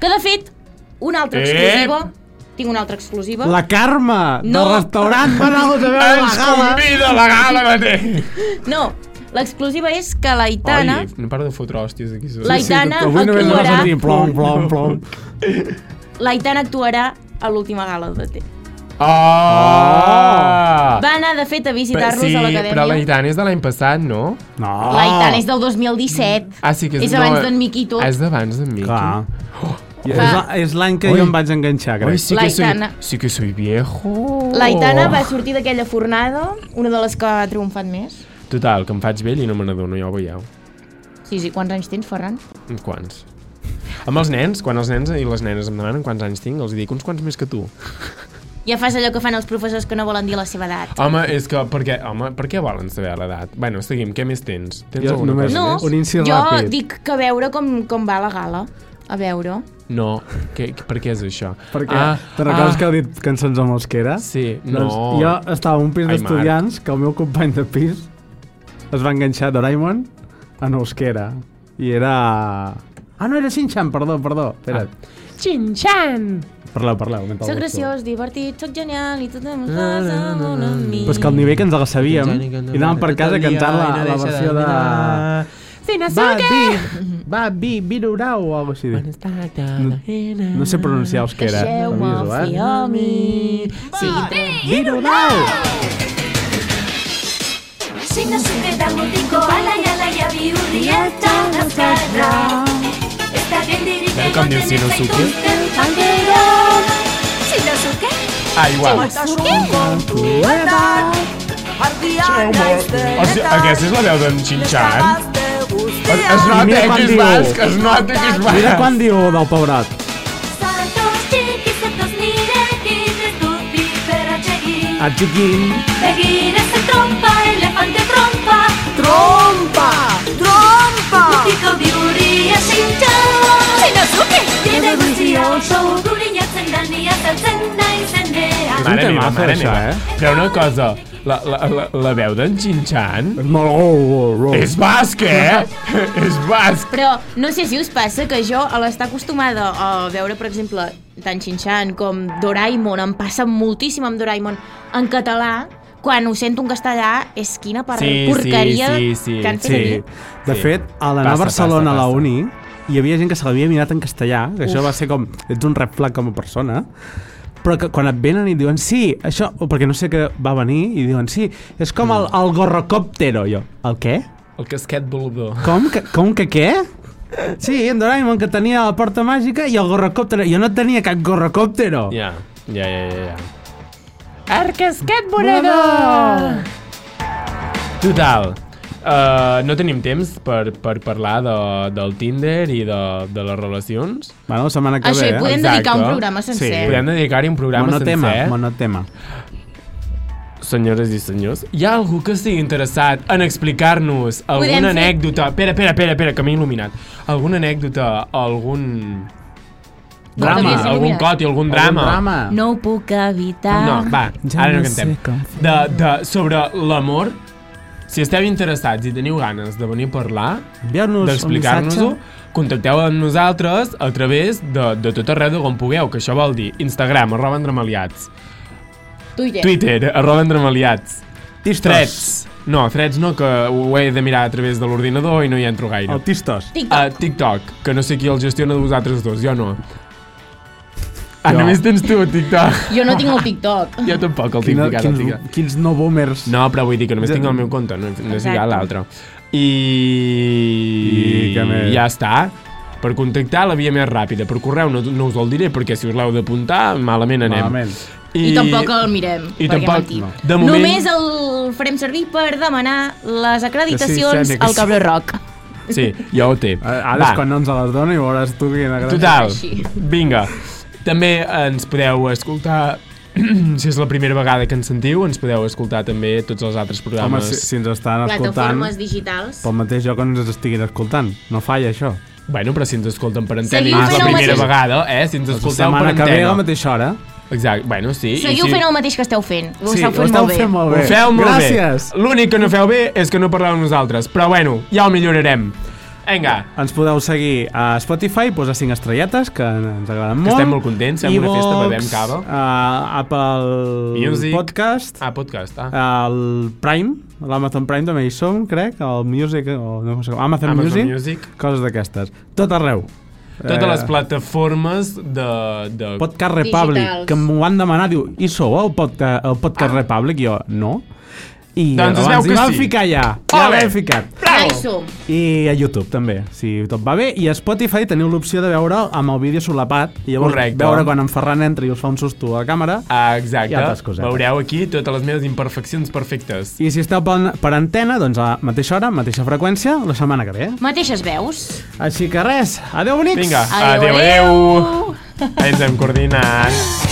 C: Que de fet, una altra
B: Ep!
C: exclusiva, tinc una altra exclusiva.
A: La Carme,
C: No.
A: del restaurant, va
C: [LAUGHS]
A: anar a veure la
B: Ens
A: gala.
B: convida a la gala mateix!
C: No, l'exclusiva és que la Itana...
B: Ai, no paro de fotre hòsties aquí.
C: La Itana
A: Avui només la
C: actuarà,
A: sentim, plom, plom, plom.
C: la Itana actuarà a l'última gala de T.
B: Oh!
C: Va anar, de fet, a visitar-los
B: sí,
C: a
B: però la
C: l'acadèmia.
B: Itana és de l'any passat, no?
A: No.
C: La Itana és del 2017.
B: Ah, sí, que és... Ah,
C: És abans d'en Miqui i tot.
B: És d'abans d'en Miqui.
A: Clar. I és
C: Va.
A: la- És l'any que
B: Ui.
A: jo em vaig enganxar,
B: Oi,
A: crec.
B: sí
C: La
B: que soy,
C: Itana.
B: sí que soy viejo.
C: La Itana va sortir d'aquella fornada, una de les que ha triomfat més.
B: Total, que em faig vell i no me n'adono, ja ho veieu.
C: Sí, sí, quants anys tens, Ferran?
B: Uns quants. Amb els nens, quan els nens i les nenes em demanen quants anys tinc, els dic uns quants més que tu.
C: Ja fas allò que fan els professors que no volen dir la seva edat.
B: Home, és que... Per què, home, per què volen saber l'edat? Bueno, seguim, què més tens? Tens
A: Jo
B: alguna
A: només-
B: cosa
C: No,
A: Un incís
C: jo
A: ràpid.
C: dic que a veure com, com va la gala. A veure.
B: més? No. Què, per què és això?
A: Perquè ah, te'n recordes ah. que he dit cançons amb els que era?
B: Sí,
A: Doncs
B: no.
A: Jo estava en un pis
B: Ai, Marc.
A: d'estudiants que el meu company de pis es va enganxar a Doraemon en euskera. I era... Ah, no, era Shin-chan, perdó, perdó. Espera't. Ah. Shin-chan! Parleu, parleu. mentre
C: Soc
A: el busco.
C: graciós, divertit, soc genial i tot em passa molt amb mi.
A: Però és que el nivell que ens la sabíem i anàvem per casa cantant la, la versió de... Va, vi, va, vi, virurau o alguna cosa així. No, no sé pronunciar euskera.
C: Deixeu-me
A: aviso, eh?
C: fiar a mi. Sí,
A: Virurau!
H: Signa zuketa mutiko alaiala jabi hurria eta nazkarra Ez da geldirik
B: Welcome to Sino Suke.
H: pangero Signa zuke,
B: Ah, igual.
F: este,
B: O sigui, aquesta és la veu d'en Xinxan. Es, es
A: I mira
B: nota
A: quan
B: que és
A: diu.
B: basc, es nota que és basc.
A: Mira quan diu del pebrot.
H: Zatoz txiki, zatoz nirekin Ez dut biferra txegin
A: Atxiquin.
H: Begire ze trompa, elefante trompa Trompa, trompa Mutiko biurria sintxan Signa zuke, jende guztia oso Guriñatzen da, ni azaltzen nahi zendean
B: Mare meva,
A: temazo,
B: mare
A: això,
B: meva.
A: eh?
B: Però una cosa, la, la, la, la veu d'en Xinxan
A: És molt... Oh, oh, oh.
B: és basc,
A: [LAUGHS]
B: eh? és basc.
C: Però no sé si us passa que jo, a l'estar acostumada a veure, per exemple, tant Xinxan com Doraemon, em passa moltíssim amb Doraemon en català, quan ho sento en castellà, és quina per
B: Sí,
C: porqueria
B: sí, sí,
C: que han fet
A: Sí.
C: aquí.
A: De
B: Sí.
A: fet, a l'anar a
B: Passa,
A: Barcelona
B: passa,
A: a la
B: passa.
A: uni hi havia gent que se l'havia mirat en castellà, que això va ser com... Ets un red flag com a persona. Però que quan et venen i et diuen sí, això... O perquè no sé què va venir i diuen sí, és com el, el gorrocòptero. Jo, el què?
B: El casquet volador.
A: Com que, com que què? Sí, en Doraemon que tenia la porta màgica i el gorrocòptero. Jo no tenia cap gorrocòptero.
B: Ja, ja, ja, ja. ja.
A: Volador!
B: Total. Uh, no tenim temps per, per parlar de, del Tinder i de, de les relacions.
A: Bueno, la setmana que
C: Això,
A: ve,
C: hi
A: eh?
C: podem
B: Exacte.
C: dedicar un programa sencer.
A: Sí.
B: Podem dedicar-hi un programa
A: monotema,
B: sencer. eh?
A: monotema.
B: Senyores i senyors, hi ha algú que estigui interessat en explicar-nos alguna
C: Podem fer-
B: anècdota... Espera, espera, espera, espera, que m'he il·luminat. Alguna anècdota, algun...
A: Drama.
C: t'havies
B: algun
C: il·luminat.
B: cot i algun drama.
A: drama.
C: No ho puc evitar.
B: No, va,
A: Ja
B: ara no
A: no sé
B: cantem.
A: com
B: De, de, sobre l'amor, si esteu interessats i teniu ganes de venir a parlar,
A: Enviar-nos
B: d'explicar-nos-ho,
A: un missatge.
B: contacteu amb nosaltres a través de, de tot arreu d'on pugueu, que això vol dir Instagram, arroba endremaliats,
C: Tu i jo.
B: Twitter, arroba endremaliats,
A: Tistos.
B: Threads. No, Threads no, que ho he de mirar a través de l'ordinador i no hi entro gaire.
A: El Tistos.
B: A
C: TikTok.
B: TikTok, que no sé qui el gestiona de vosaltres dos, jo no. Ah,
A: Jo.
B: només tens tu, TikTok.
C: Jo no tinc el TikTok.
B: Jo tampoc el tinc
A: Quina,
B: ficat, el
A: quins,
B: TikTok.
A: quins no boomers.
B: No, però vull dir que només tinc el meu compte, no, no sé
C: Exacte.
B: l'altre. I...
A: I què més?
B: ja està. Per contactar la via més ràpida, per correu no, no us el diré, perquè si us l'heu d'apuntar, malament anem.
A: Malament.
C: I, tampoc el mirem,
B: i
C: perquè
B: tampoc-
C: mentim.
B: no. De moment-
C: Només el farem servir per demanar les acreditacions
A: sí,
C: al Cabró Rock.
B: Sí, ja ho té.
A: Eh, Ara
B: Va.
A: és quan no ens les dona i veuràs tu quina gràcia.
B: Total,
C: Així.
B: vinga. També ens podeu escoltar, [CLEARS THROAT] si és la primera vegada que ens sentiu, ens podeu escoltar també tots els altres
A: Home,
B: programes.
A: si, si ens estan escoltant
C: Plataformes digitals.
A: pel mateix lloc on ens estiguin escoltant. No falla, això.
B: Bueno, però si ens escolten per antena i
C: Seguiu
B: és
C: fent
B: la
C: el
B: primera
C: mateix.
B: vegada, eh? Si ens escolteu
A: la
B: per
A: setmana que ve a la
B: antena.
A: mateixa hora.
B: Exacte, bueno, sí. i
C: Seguiu
B: si-
C: fent el mateix que esteu fent. Ho
A: ho
C: esteu fent
A: esteu
C: molt bé.
A: fent molt bé.
B: Ho feu molt
A: Gràcies.
B: bé. L'únic que no feu bé és que no parleu amb nosaltres, però bueno, ja ho millorarem. Vinga,
A: Ens podeu seguir a Spotify, posar 5 estrelletes, que ens agraden molt.
B: estem molt contents, fem una
A: iVox,
B: festa, bevem cava.
A: a Apple
B: Music.
A: Podcast,
B: ah, podcast, ah.
A: al Prime, a l'Amazon Prime també hi som, crec, al Music, o no sé com, Amazon,
B: Amazon
A: Music,
B: Music.
A: coses d'aquestes. Tot arreu.
B: Totes
A: eh.
B: les plataformes de... de...
A: Podcast Republic,
C: Digitals.
A: que m'ho van demanar, diu, i sou el, podca el Podcast Republic? Jo, no. I
B: Ah. Doncs es veu
A: abans
B: que
A: hi vam
B: sí.
A: ficar ja, ja
B: Ole.
A: l'hem ficat.
C: Ja hi som.
A: I a YouTube també, si tot va bé. I a Spotify teniu l'opció de veure amb el vídeo solapat. I llavors
B: Correcte.
A: veure quan en Ferran entra i us fa un susto a la càmera.
B: Ah,
A: I altres
B: exacte.
A: cosetes.
B: Veureu aquí totes les meves imperfeccions perfectes.
A: I si esteu per, per antena, doncs a la mateixa hora, mateixa freqüència, la setmana que ve. eh?
C: Mateixes veus.
A: Així que res, adeu bonics!
B: Vinga,
C: Adeu,
B: adeu, adeu. Ens hem coordinat.